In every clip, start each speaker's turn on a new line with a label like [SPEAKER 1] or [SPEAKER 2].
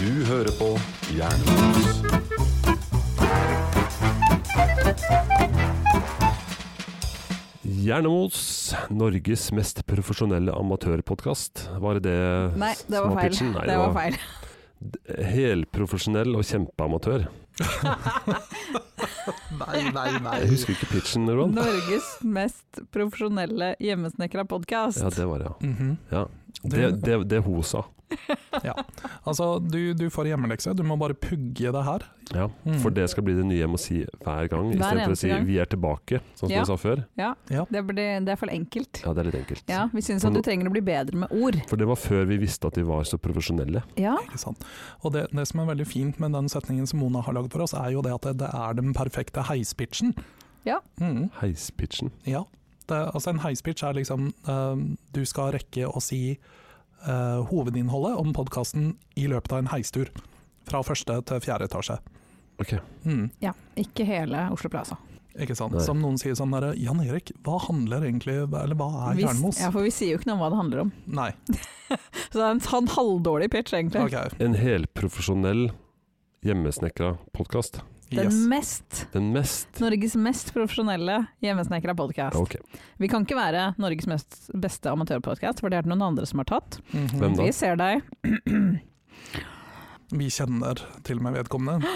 [SPEAKER 1] Du hører på Jernbanen.
[SPEAKER 2] Hjernemos, Norges mest profesjonelle amatørpodkast. Var det det
[SPEAKER 3] Nei, det
[SPEAKER 2] som
[SPEAKER 3] var feil.
[SPEAKER 2] pitchen? Nei,
[SPEAKER 3] det var feil.
[SPEAKER 2] feil. Helprofesjonell og kjempeamatør.
[SPEAKER 4] Nei, nei, nei.
[SPEAKER 2] Jeg husker ikke pitchen, Roan.
[SPEAKER 3] Norges mest profesjonelle hjemmesnekra podkast.
[SPEAKER 2] Ja, det var det, ja.
[SPEAKER 4] Mhm.
[SPEAKER 2] Det, det, det hun sa.
[SPEAKER 4] Altså, du, du får hjemmelekse, du må bare pugge det her.
[SPEAKER 2] Ja,
[SPEAKER 4] Mm.
[SPEAKER 2] For det skal bli det nye jeg må si hver gang,
[SPEAKER 3] Hver
[SPEAKER 2] istedenfor å
[SPEAKER 3] eneste
[SPEAKER 2] si
[SPEAKER 3] gang.
[SPEAKER 2] 'vi er tilbake', sånn som
[SPEAKER 3] Ja.
[SPEAKER 2] jeg sa før.
[SPEAKER 3] Det, blir, det er for enkelt.
[SPEAKER 2] Ja, det er litt enkelt.
[SPEAKER 3] Ja, Vi syns at du trenger å bli bedre med ord.
[SPEAKER 2] For det var før vi visste at vi var så profesjonelle.
[SPEAKER 3] Ja,
[SPEAKER 4] Ikke sant? Og det, det som er veldig fint med den setningen som Mona har lagd for oss, er jo det at det, det er den perfekte heispitchen.
[SPEAKER 3] Ja.
[SPEAKER 4] Mhm,
[SPEAKER 2] Heispitchen.
[SPEAKER 4] ja. Det, altså en heispitch er liksom eh, du skal rekke å si eh, hovedinnholdet om podkasten i løpet av en heistur. Fra første til fjerde etasje.
[SPEAKER 2] Ok,
[SPEAKER 4] Mhm,
[SPEAKER 3] ja. Ikke hele Oslo Plaza.
[SPEAKER 4] ikke sant?
[SPEAKER 2] Nei.
[SPEAKER 4] Som noen sier sånn derre Jan Erik, hva handler egentlig Eller hva er
[SPEAKER 3] Hvis-
[SPEAKER 4] Jernmos?
[SPEAKER 3] Ja, for vi sier jo ikke noe om hva det handler om.
[SPEAKER 4] Nei.
[SPEAKER 3] Så det er en sånn halvdårlig pitch, egentlig.
[SPEAKER 4] OK.
[SPEAKER 2] En helprofesjonell hjemmesnekra podkast.
[SPEAKER 3] Den
[SPEAKER 4] Yes.
[SPEAKER 3] mest
[SPEAKER 2] Den mest
[SPEAKER 3] Norges mest profesjonelle hjemmesnekra podkast.
[SPEAKER 2] Ok,
[SPEAKER 3] Vi kan ikke være Norges mest beste amatørpodkast, for det er det noen andre som har tatt.
[SPEAKER 4] Mhm.
[SPEAKER 2] Hvem da?
[SPEAKER 3] Vi ser deg.
[SPEAKER 4] Vi kjenner til og med vedkommende.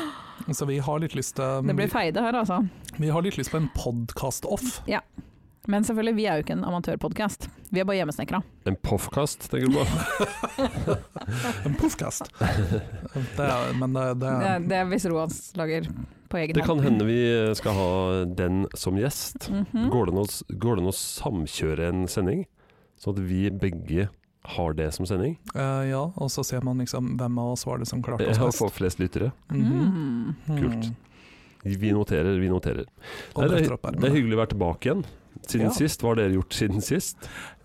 [SPEAKER 4] Så vi har litt lyst til
[SPEAKER 3] Det blir feide her, altså.
[SPEAKER 4] Vi har litt lyst på en podkast-off.
[SPEAKER 3] Men selvfølgelig, vi er jo ikke en amatørpodkast. Vi er bare hjemmesnekra.
[SPEAKER 2] En poffkast, tenker du på?
[SPEAKER 4] En poffkast. Det er, men det, det
[SPEAKER 3] Det,
[SPEAKER 4] er
[SPEAKER 3] det er hvis Roans lager på egen
[SPEAKER 2] Det kan
[SPEAKER 3] hånd.
[SPEAKER 2] hende vi eh, skal ha den som gjest.
[SPEAKER 3] Mhm.
[SPEAKER 2] Går det an å- går det an å samkjøre en sending, sånn at vi begge har det som sending?
[SPEAKER 4] eh, Ja, og så ser man liksom hvem av oss var det som klarte
[SPEAKER 2] Jeg
[SPEAKER 4] oss
[SPEAKER 2] har
[SPEAKER 4] best.
[SPEAKER 2] fått flest lyttere.
[SPEAKER 4] Mhm.
[SPEAKER 3] Mm.
[SPEAKER 2] Kult.
[SPEAKER 4] Mm.
[SPEAKER 2] Vi noterer, vi noterer.
[SPEAKER 4] Og
[SPEAKER 2] Nei, det,
[SPEAKER 4] bretter opp
[SPEAKER 2] er, det er
[SPEAKER 4] ermene.
[SPEAKER 2] hyggelig å være tilbake igjen. Siden
[SPEAKER 4] Ja.
[SPEAKER 2] sist, hva har dere gjort siden sist?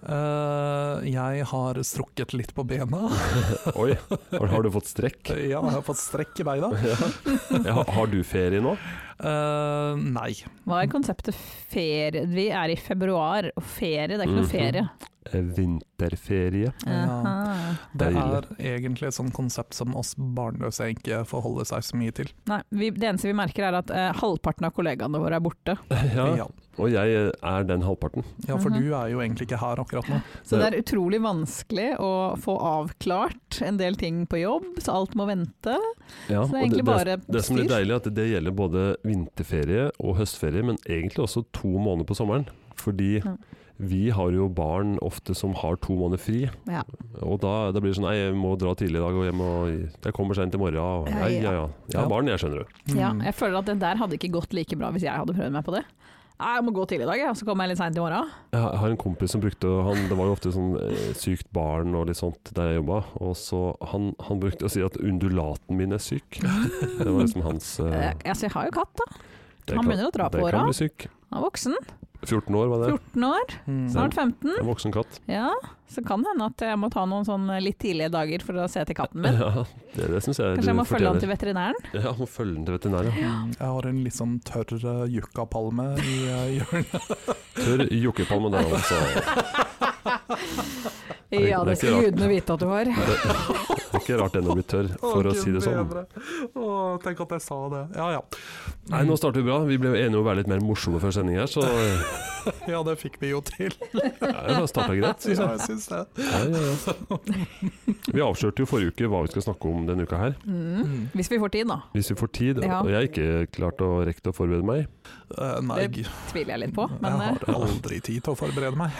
[SPEAKER 4] Eh, jeg har strukket litt på bena.
[SPEAKER 2] Oi, har, har du fått strekk?
[SPEAKER 4] Ja, jeg har fått strekk i beina.
[SPEAKER 2] Ja, har- har du ferie nå?
[SPEAKER 4] Eh, nei.
[SPEAKER 3] Hva er konseptet ferie? Vi er i februar, og ferie, det er ikke noe
[SPEAKER 2] Mhm.
[SPEAKER 3] ferie.
[SPEAKER 2] Eh, Vinterferie.
[SPEAKER 4] Ja.
[SPEAKER 3] Aha.
[SPEAKER 4] Det er
[SPEAKER 2] Deilig.
[SPEAKER 4] egentlig et sånt konsept som oss barnløse ikke forholder seg så mye til.
[SPEAKER 3] Nei, vi, det eneste vi merker er at eh, halvparten av kollegaene våre er borte.
[SPEAKER 2] Ja,
[SPEAKER 4] Ja,
[SPEAKER 2] og jeg eh, er den halvparten.
[SPEAKER 4] ja for
[SPEAKER 3] Mhm.
[SPEAKER 4] du er jo egentlig ikke her akkurat nå.
[SPEAKER 3] Så det er utrolig vanskelig å få avklart en del ting på jobb, så alt må vente.
[SPEAKER 2] Ja,
[SPEAKER 3] Så det er
[SPEAKER 2] og
[SPEAKER 3] egentlig bare
[SPEAKER 2] det, det som blir
[SPEAKER 3] styr.
[SPEAKER 2] deilig, er at det gjelder både vinterferie og høstferie, men egentlig også to måneder på sommeren. Fordi
[SPEAKER 3] Ja.
[SPEAKER 2] vi har jo barn ofte som har to måneder fri,
[SPEAKER 3] Ja.
[SPEAKER 2] og da, da blir det sånn Nei, jeg må dra tidlig i dag og hjem, og jeg kommer sent i morgen. Og,
[SPEAKER 3] Ja,
[SPEAKER 2] nei, ja,
[SPEAKER 3] ja.
[SPEAKER 2] ja. Jeg har
[SPEAKER 4] Ja.
[SPEAKER 2] barn, jeg, skjønner du.
[SPEAKER 3] Ja,
[SPEAKER 4] Mm.
[SPEAKER 3] jeg føler at den der hadde ikke gått like bra hvis jeg hadde prøvd meg på det. Nei, Jeg må gå tidlig i dag, jeg, og så kommer jeg litt seint i morgen.
[SPEAKER 2] Jeg har- har en kompis som brukte han, Det var jo ofte sånn eh, sykt barn og litt sånt der jeg jobba, og så han, han brukte å si at undulaten min er syk. Det var liksom hans eh,
[SPEAKER 3] Eh, altså, jeg har jo katt, da.
[SPEAKER 2] det
[SPEAKER 3] han
[SPEAKER 2] kan-
[SPEAKER 3] begynner å dra på
[SPEAKER 2] Det
[SPEAKER 3] åra.
[SPEAKER 2] kan bli syk.
[SPEAKER 3] Han er voksen.
[SPEAKER 2] 14 år var det.
[SPEAKER 3] 14 år,
[SPEAKER 4] Mm.
[SPEAKER 3] snart 15.
[SPEAKER 2] En voksen katt.
[SPEAKER 3] Ja, så kan det hende at jeg må ta noen sånn litt tidlige dager for å se til katten min.
[SPEAKER 2] Ja, det, det syns jeg
[SPEAKER 3] Kanskje jeg må følge han til veterinæren?
[SPEAKER 2] Ja, må følge den til veterinær, ja.
[SPEAKER 4] Mm, Jeg har en litt sånn tørr uh, yuccapalme i eh, hjørnet.
[SPEAKER 2] Tør jokkepalme der, altså. er-
[SPEAKER 3] Ja,
[SPEAKER 2] det er ikke
[SPEAKER 3] det skal
[SPEAKER 2] rart.
[SPEAKER 3] gudene vite at du har.
[SPEAKER 2] Det er ikke rart den har blitt tørr, for å si det sånn.
[SPEAKER 4] tenk at jeg sa det. Ja ja.
[SPEAKER 2] Nei, nå starter vi bra. Vi ble enige om å være litt mer morsomme før sending her, så ja,
[SPEAKER 4] Ja, det fikk vi jo til.
[SPEAKER 2] det starta greit, syns
[SPEAKER 4] Ja,
[SPEAKER 2] jeg.
[SPEAKER 4] jeg syns det.
[SPEAKER 2] Ja, ja, ja. Vi avslørte jo forrige uke hva vi skal snakke om denne uka her,
[SPEAKER 3] Mm. Hvis vi får tid, da.
[SPEAKER 2] hvis vi får tid.
[SPEAKER 3] Ja.
[SPEAKER 2] Og jeg har ikke klart å rekke å forberede meg.
[SPEAKER 4] Eh, nei,
[SPEAKER 3] Det- Tviler jeg litt på.
[SPEAKER 4] jeg
[SPEAKER 3] Men
[SPEAKER 4] har
[SPEAKER 3] eh,
[SPEAKER 4] aldri tid til å forberede meg.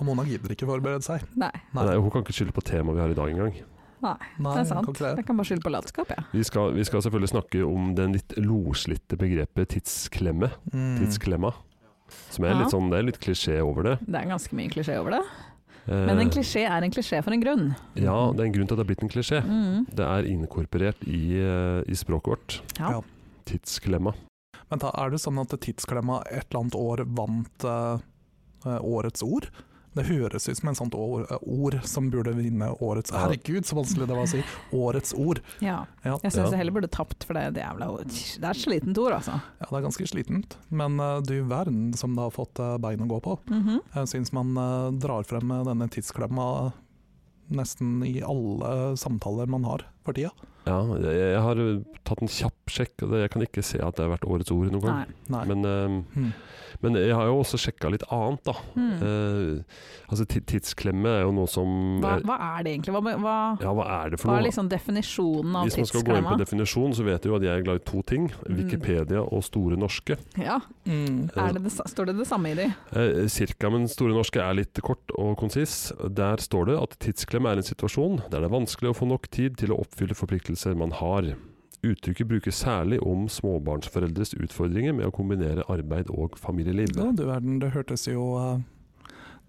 [SPEAKER 4] Og Mona gidder ikke forberede seg.
[SPEAKER 3] nei,
[SPEAKER 4] Nei.
[SPEAKER 2] Nei, hun kan ikke skylde på temaet vi har i dag engang.
[SPEAKER 4] Nei,
[SPEAKER 3] det er sant.
[SPEAKER 4] kan ikke det.
[SPEAKER 3] Jeg kan bare skylde på latskap, jeg.
[SPEAKER 2] Vi skal, vi skal selvfølgelig snakke om den litt loslitte begrepet tidsklemme.
[SPEAKER 4] Mm.
[SPEAKER 2] Tidsklemma. Som er litt sånn, det er litt klisjé over det.
[SPEAKER 3] Det er ganske mye klisjé over det.
[SPEAKER 2] Eh,
[SPEAKER 3] Men en klisjé er en klisjé for en grunn.
[SPEAKER 2] Ja, det er en grunn til at det er blitt en klisjé.
[SPEAKER 3] Mm.
[SPEAKER 2] Det er inkorporert i, eh, i språket vårt.
[SPEAKER 3] Ja.
[SPEAKER 4] Ja.
[SPEAKER 2] Tidsklemma.
[SPEAKER 4] Men da er det sånn at Tidsklemma et eller annet år vant eh, eh, årets ord? Det høres ut som en sånt ord, ord som burde vinne årets
[SPEAKER 2] Ja.
[SPEAKER 4] Herregud, så vanskelig det var å si! Årets ord.
[SPEAKER 3] Ja.
[SPEAKER 4] Ja.
[SPEAKER 2] Ja.
[SPEAKER 3] Jeg syns jeg heller burde tapt, for det er et jævla Det er et slitent ord, altså.
[SPEAKER 4] Ja, det er ganske slitent, men eh, du verden som det har fått eh, bein å gå på.
[SPEAKER 3] Mhm.
[SPEAKER 4] Jeg syns man eh, drar frem eh, denne tidsklemma nesten i alle samtaler man har for tida.
[SPEAKER 2] Ja, jeg, jeg har eh, tatt en kjapp sjekk, og det, jeg kan ikke se at det har vært årets ord noen gang.
[SPEAKER 3] Nei.
[SPEAKER 4] Nei.
[SPEAKER 2] Men, eh,
[SPEAKER 4] Hmm.
[SPEAKER 2] men jeg har jo også sjekka litt annet, da.
[SPEAKER 3] Mm.
[SPEAKER 2] Eh, altså ti- tidsklemme er jo noe som
[SPEAKER 3] Hva, hva er det egentlig? Hva, hva,
[SPEAKER 2] Ja, hva er det for
[SPEAKER 3] hva er
[SPEAKER 2] noe?
[SPEAKER 3] liksom definisjonen av Mm.
[SPEAKER 2] Hvis man skal gå inn på
[SPEAKER 3] tidsklemma?
[SPEAKER 2] definisjon, så vet du jo at jeg er glad i to ting. Wikipedia og Store norske.
[SPEAKER 3] Ja,
[SPEAKER 4] Mm.
[SPEAKER 3] er det det, sa- står det det samme i de?
[SPEAKER 2] Eh, Cirka, men Store norske er litt kort og konsis. Der står det at tidsklemme er en situasjon der det er vanskelig å få nok tid til å oppfylle forpliktelser man har. Uttrykket brukes særlig om småbarnsforeldres utfordringer med å kombinere arbeid og familieliv.
[SPEAKER 4] Ja, du verden, det hørtes jo eh,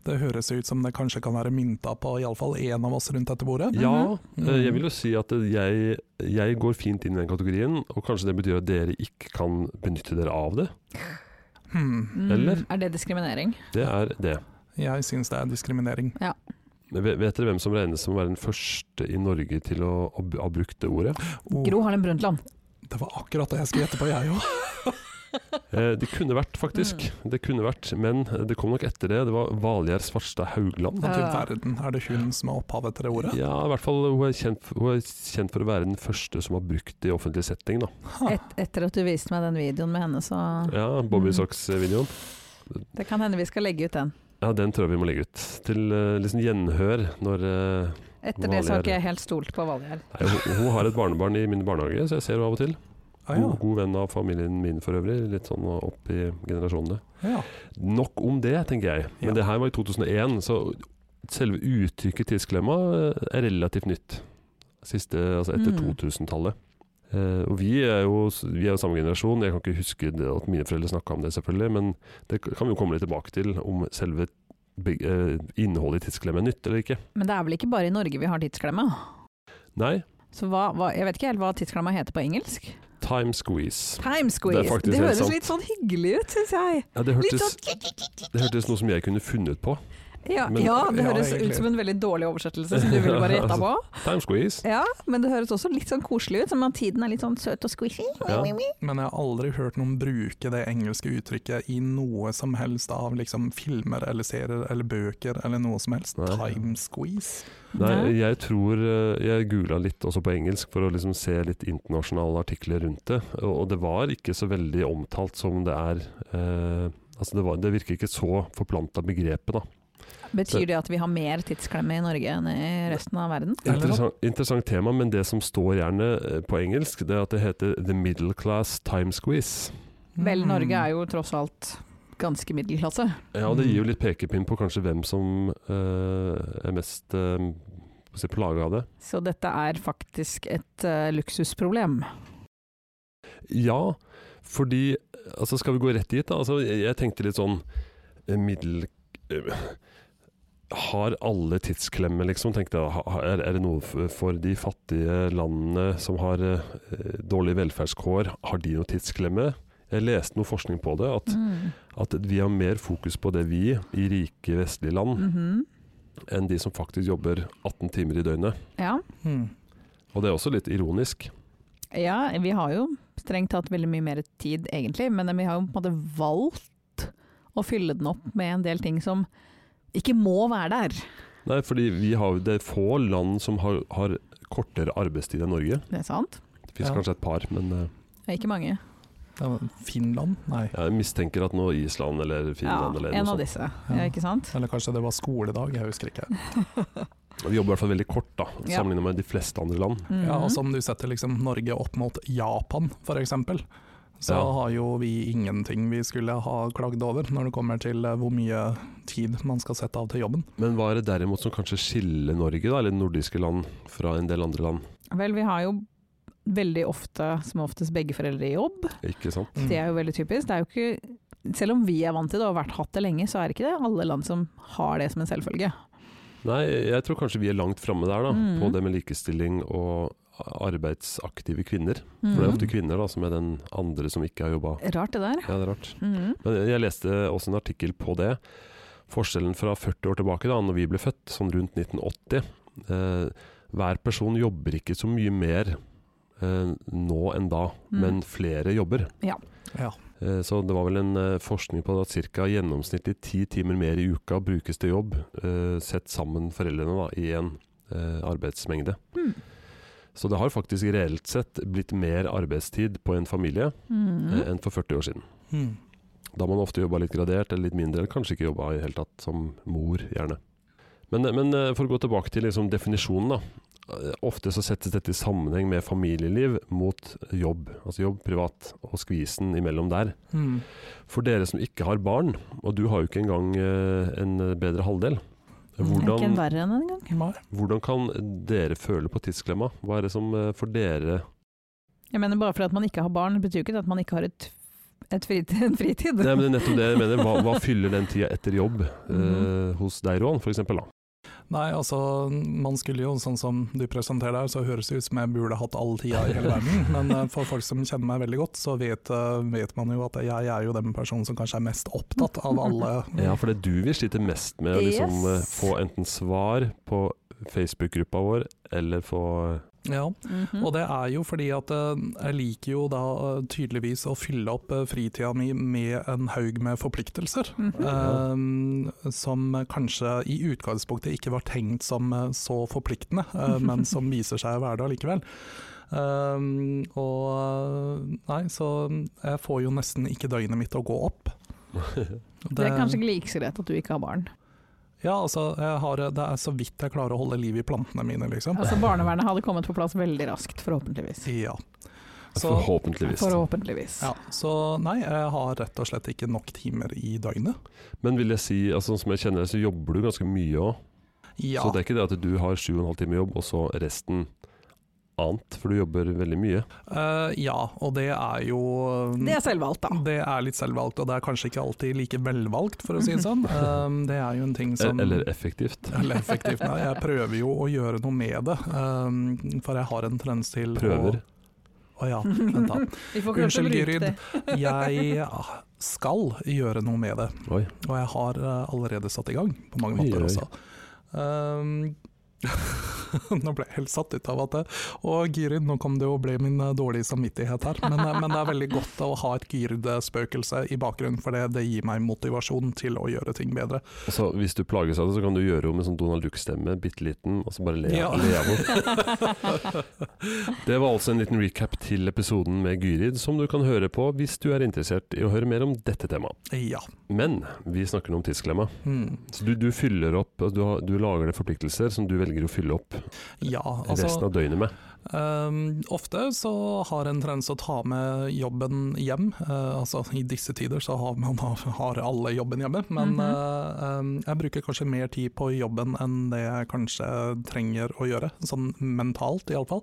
[SPEAKER 4] Det høres jo ut som det kanskje kan være mynta på iallfall én av oss rundt dette bordet.
[SPEAKER 2] Ja,
[SPEAKER 4] Mhm.
[SPEAKER 2] eh, jeg vil jo si at eh, jeg, jeg går fint inn i den kategorien, og kanskje det betyr at dere ikke kan benytte dere av det.
[SPEAKER 4] Hmm.
[SPEAKER 3] Mm.
[SPEAKER 2] Eller?
[SPEAKER 3] Er det diskriminering?
[SPEAKER 2] Det er det.
[SPEAKER 4] Jeg syns det er diskriminering.
[SPEAKER 2] Vet vet dere hvem som regnes som å være den første i Norge til å, å b- ha brukt det ordet?
[SPEAKER 4] Oh,
[SPEAKER 3] Gro Harlem Brundtland.
[SPEAKER 4] det var akkurat det jeg skulle gjette på, jeg òg.
[SPEAKER 2] Eh, det kunne vært, faktisk. Det kunne vært, Men det kom nok etter det. Det var Valgjerd Svarstad Haugland.
[SPEAKER 4] Du
[SPEAKER 3] Ja.
[SPEAKER 4] verden, er det hun som er opphavet til det ordet?
[SPEAKER 2] Ja, i hvert fall hun er, kjent, f- hun er kjent for å være den første som har brukt det i offentlig setting. Da.
[SPEAKER 3] Et, etter at du viste meg den videoen med henne, så
[SPEAKER 2] Ja,
[SPEAKER 3] Mm.
[SPEAKER 2] Bobby Socks-videoen.
[SPEAKER 3] Det kan hende vi skal legge ut den.
[SPEAKER 2] Ja, Den tror jeg vi må legge ut. Til eh, liksom gjenhør når eh,
[SPEAKER 3] Etter det så har
[SPEAKER 2] Valgjerd.
[SPEAKER 3] ikke jeg helt stolt på Valgjerd.
[SPEAKER 2] Nei, hun, hun har et barnebarn i min barnehage, så jeg ser henne av og til.
[SPEAKER 4] Ah,
[SPEAKER 2] God, god venn av familien min for øvrig. Litt sånn opp i generasjonene.
[SPEAKER 4] ja. ja.
[SPEAKER 2] Nok om det, tenker jeg. Men
[SPEAKER 4] Ja.
[SPEAKER 2] det her var i 2001, så selve uttrykket tidsklemma eh, er relativt nytt. Siste, altså etter
[SPEAKER 3] Mm.
[SPEAKER 2] 2000-tallet. Eh, og vi er, jo, vi er jo samme generasjon, jeg kan ikke huske det, at mine foreldre snakka om det, selvfølgelig, men det kan vi jo komme litt tilbake til, om selve be- eh, innholdet i tidsklemme er nytt eller ikke.
[SPEAKER 3] Men det er vel ikke bare i Norge vi har tidsklemme?
[SPEAKER 2] Nei,
[SPEAKER 3] Så hva, hva, jeg vet ikke helt hva tidsklemma heter på engelsk.
[SPEAKER 2] time squeeze.
[SPEAKER 3] Time squeeze.
[SPEAKER 2] Det er
[SPEAKER 3] Det,
[SPEAKER 2] faktisk helt
[SPEAKER 3] høres
[SPEAKER 2] sant.
[SPEAKER 3] litt sånn hyggelig ut, syns jeg.
[SPEAKER 2] Ja, det,
[SPEAKER 3] Litt
[SPEAKER 2] hørtes,
[SPEAKER 3] sånn
[SPEAKER 2] det hørtes noe som jeg kunne funnet på.
[SPEAKER 3] Ja,
[SPEAKER 2] Men-
[SPEAKER 3] ja det
[SPEAKER 4] Ja,
[SPEAKER 3] høres
[SPEAKER 4] egentlig.
[SPEAKER 3] ut som en veldig dårlig oversettelse som du ville bare gjetta på.
[SPEAKER 2] Time squeeze.
[SPEAKER 3] Ja, men det høres også litt sånn koselig ut, som at tiden er litt sånn søt og squishy.
[SPEAKER 2] Ja.
[SPEAKER 4] Men jeg har aldri hørt noen bruke det engelske uttrykket i noe som helst av liksom filmer eller serier eller bøker eller noe som helst.
[SPEAKER 2] Nei.
[SPEAKER 4] Time squeeze.
[SPEAKER 2] Nei, jeg tror eh, Jeg googla litt også på engelsk for å liksom se litt internasjonale artikler rundt det. Og og det var ikke så veldig omtalt som det er eh, Altså det, var, det virker ikke så forplanta begrepet, da.
[SPEAKER 3] Betyr det at vi har mer tidsklemme i Norge enn i resten av verden?
[SPEAKER 4] Eller
[SPEAKER 2] Interessant, interessant tema, men det som står gjerne eh, på engelsk, det er at det heter 'The Middle Class Time Squeeze'.
[SPEAKER 4] Mm.
[SPEAKER 3] Vel, Norge er jo tross alt ganske middelklasse.
[SPEAKER 2] Ja, og det gir jo litt pekepinn på kanskje hvem som eh, er mest uh, plaga av det.
[SPEAKER 3] Så dette er faktisk et eh, luksusproblem.
[SPEAKER 2] Ja, fordi altså Skal vi gå rett dit, da? Altså, jeg, jeg tenkte litt sånn eh, middel... eh, Har alle tidsklemme, liksom? tenkte jeg. Ha- ha- Er, er det noe f- for de fattige landene som har eh, dårlige velferdskår? Har de noe tidsklemme? Jeg leste noe forskning på det, at,
[SPEAKER 3] Mm.
[SPEAKER 2] at vi har mer fokus på det vi i rike vestlige land,
[SPEAKER 3] Mhm.
[SPEAKER 2] enn de som faktisk jobber 18 timer i døgnet.
[SPEAKER 3] Ja.
[SPEAKER 4] Mm.
[SPEAKER 2] Og det er også litt ironisk.
[SPEAKER 3] Ja, vi har jo strengt tatt veldig mye mer tid egentlig, men vi har jo på en måte valgt å fylle den opp med en del ting som ikke må være der.
[SPEAKER 2] Nei, fordi vi har, det er få land som har, har kortere arbeidstid enn Norge.
[SPEAKER 3] Det er sant?
[SPEAKER 2] Det fins
[SPEAKER 4] Ja.
[SPEAKER 2] kanskje et par, men eh,
[SPEAKER 3] Det er ikke mange.
[SPEAKER 4] Ja, men Finland? Nei.
[SPEAKER 2] jeg mistenker at nå Island eller Finland eller noe
[SPEAKER 3] en av
[SPEAKER 2] sånt.
[SPEAKER 3] disse, ja, ikke sant?
[SPEAKER 4] Eller kanskje det var skoledag, jeg husker ikke.
[SPEAKER 2] Vi jobber i hvert fall veldig kort, da,
[SPEAKER 3] Ja.
[SPEAKER 2] sammenlignet med de fleste andre land.
[SPEAKER 3] Mhm.
[SPEAKER 4] Ja, altså om du setter liksom Norge opp mot Japan f.eks., så
[SPEAKER 2] Ja.
[SPEAKER 4] har jo vi ingenting vi skulle ha klagd over når det kommer til eh, hvor mye tid man skal sette av til jobben.
[SPEAKER 2] Men hva er det derimot som kanskje skiller Norge, da, eller nordiske land, fra en del andre land?
[SPEAKER 3] Vel, vi har jo veldig ofte, som oftest, begge foreldre i jobb.
[SPEAKER 2] Ikke sant?
[SPEAKER 4] Mm.
[SPEAKER 3] Det er jo veldig typisk. Det er jo ikke, selv om vi er vant til det og har vært hatt det lenge, så er det ikke det alle land som har det som en selvfølge.
[SPEAKER 2] Nei, jeg tror kanskje vi er langt framme der, da,
[SPEAKER 3] Mm.
[SPEAKER 2] på det med likestilling og arbeidsaktive kvinner. For det er
[SPEAKER 3] Mhm.
[SPEAKER 2] ofte kvinner da, som er den andre som ikke har jobba.
[SPEAKER 3] Rart det der.
[SPEAKER 2] Ja, det er rart.
[SPEAKER 3] Mhm.
[SPEAKER 2] Men jeg leste også en artikkel på det, forskjellen fra 40 år tilbake, da når vi ble født, sånn rundt 1980 eh, Hver person jobber ikke så mye mer eh, nå enn da,
[SPEAKER 3] Mm.
[SPEAKER 2] men flere jobber.
[SPEAKER 4] Ja.
[SPEAKER 2] Eh, Så det var vel en eh, forskning på at ca. gjennomsnittlig ti timer mer i uka brukes til jobb, eh, sett sammen foreldrene da, i en eh, arbeidsmengde.
[SPEAKER 3] Mm.
[SPEAKER 2] Så det har faktisk reelt sett blitt mer arbeidstid på en familie eh,
[SPEAKER 3] Mm.
[SPEAKER 2] enn for 40 år siden.
[SPEAKER 4] Mm.
[SPEAKER 2] Da har man ofte jobba litt gradert, eller litt mindre, eller kanskje ikke jobba i det hele tatt, som mor, gjerne. Men, men eh, for å gå tilbake til liksom definisjonen, da. Eh, Ofte så settes dette i sammenheng med familieliv mot jobb, altså jobb, privat, og skvisen imellom der.
[SPEAKER 4] Mm.
[SPEAKER 2] For dere som ikke har barn, og du har jo ikke engang eh, en bedre halvdel,
[SPEAKER 3] Er Mm, ikke en
[SPEAKER 2] hvordan,
[SPEAKER 3] verre enn en gang.
[SPEAKER 4] Nei.
[SPEAKER 2] hvordan kan dere føle på tidsklemma? Hva er det som eh, for dere
[SPEAKER 3] Jeg mener bare fordi at man ikke har barn, betyr jo ikke det at man ikke har et, et fritid, en fritid.
[SPEAKER 2] Nei, men det er nettopp det jeg mener. Hva, hva fyller den tida etter jobb eh,
[SPEAKER 3] Mhm.
[SPEAKER 2] hos deg, Roan, for eksempel? Da?
[SPEAKER 4] Nei, altså man skulle jo, sånn som du presenterer der, så høres det ut som jeg burde hatt all tida i hele verden. Men eh, for folk som kjenner meg veldig godt, så vet, eh, vet man jo at jeg er jo den personen som kanskje er mest opptatt av alle.
[SPEAKER 2] Ja, for det er du vi sliter mest med å liksom, eh,
[SPEAKER 3] Yes.
[SPEAKER 2] få enten svar på Facebook-gruppa vår, eller få
[SPEAKER 4] Ja,
[SPEAKER 3] Mhm.
[SPEAKER 4] og det er jo fordi at eh, jeg liker jo da eh, tydeligvis å fylle opp eh, fritida mi med en haug med forpliktelser.
[SPEAKER 3] Mhm.
[SPEAKER 4] eh, som kanskje i utgangspunktet ikke var tenkt som eh, så forpliktende, eh, men som viser seg å være det allikevel. Um, og eh, Nei, så jeg får jo nesten ikke døgnet mitt å gå opp.
[SPEAKER 3] Det er kanskje ikke like så greit at du ikke har barn.
[SPEAKER 4] Ja, altså, jeg har, det er så vidt jeg klarer å holde liv i plantene mine, liksom.
[SPEAKER 3] Altså Barnevernet hadde kommet på plass veldig raskt, forhåpentligvis.
[SPEAKER 4] Ja. Så,
[SPEAKER 2] Forhåpentligvis.
[SPEAKER 3] Forhåpentligvis.
[SPEAKER 4] ja, så nei, jeg har rett og slett ikke nok timer i døgnet.
[SPEAKER 2] Men vil jeg si, altså, sånn som jeg kjenner deg, så jobber du ganske mye òg.
[SPEAKER 4] Ja.
[SPEAKER 2] Så det er ikke det at du har sju og en halv time jobb, og så resten annet, for du jobber veldig mye.
[SPEAKER 4] Eh, ja, og det er jo mm,
[SPEAKER 3] Det er selvvalgt, da.
[SPEAKER 4] Det er litt selvvalgt, og det er kanskje ikke alltid like velvalgt, for å si det sånn. Um, det er jo en ting som
[SPEAKER 2] E- eh, Eller effektivt.
[SPEAKER 4] Eller effektivt. Nei, jeg prøver jo å gjøre noe med det, um, for jeg har en tendens til
[SPEAKER 2] Prøver.
[SPEAKER 4] Å, å ja, vent da.
[SPEAKER 3] Vi får ikke lov til å
[SPEAKER 4] Unnskyld,
[SPEAKER 3] bruke
[SPEAKER 4] Gyrid.
[SPEAKER 3] det.
[SPEAKER 4] Jeg ah, skal gjøre noe med det,
[SPEAKER 2] Oi.
[SPEAKER 4] og jeg har eh, allerede satt i gang på mange
[SPEAKER 2] Oi, oi.
[SPEAKER 4] måter også. Um, nå ble jeg helt satt ut av at det Og Gyrid, nå kom det jo ble min eh, dårlige samvittighet her, men, eh, men det er veldig godt å ha et Gyrid-spøkelse i bakgrunnen, for det, det gir meg motivasjon til å gjøre ting bedre.
[SPEAKER 2] Og så Hvis du plages av det, så kan du gjøre henne med sånn Donald Duck-stemme, bitte liten, og så bare le
[SPEAKER 4] Ja.
[SPEAKER 2] le av henne. Det var altså en liten recap til episoden med Gyrid, som du kan høre på hvis du er interessert i å høre mer om dette temaet.
[SPEAKER 4] Ja.
[SPEAKER 2] Men vi snakker nå om tidsklemma.
[SPEAKER 4] Mm.
[SPEAKER 2] Så du, du fyller opp, altså du, har, du lager deg forpliktelser som du velger å fylle opp
[SPEAKER 4] ja altså,
[SPEAKER 2] resten av døgnet med.
[SPEAKER 4] Um, ofte så har en trend å ta med jobben hjem. Eh, altså I disse tider så har man har alle jobben hjemme, men
[SPEAKER 3] Mhm.
[SPEAKER 4] eh, um, jeg bruker kanskje mer tid på jobben enn det jeg kanskje trenger å gjøre, sånn mentalt iallfall.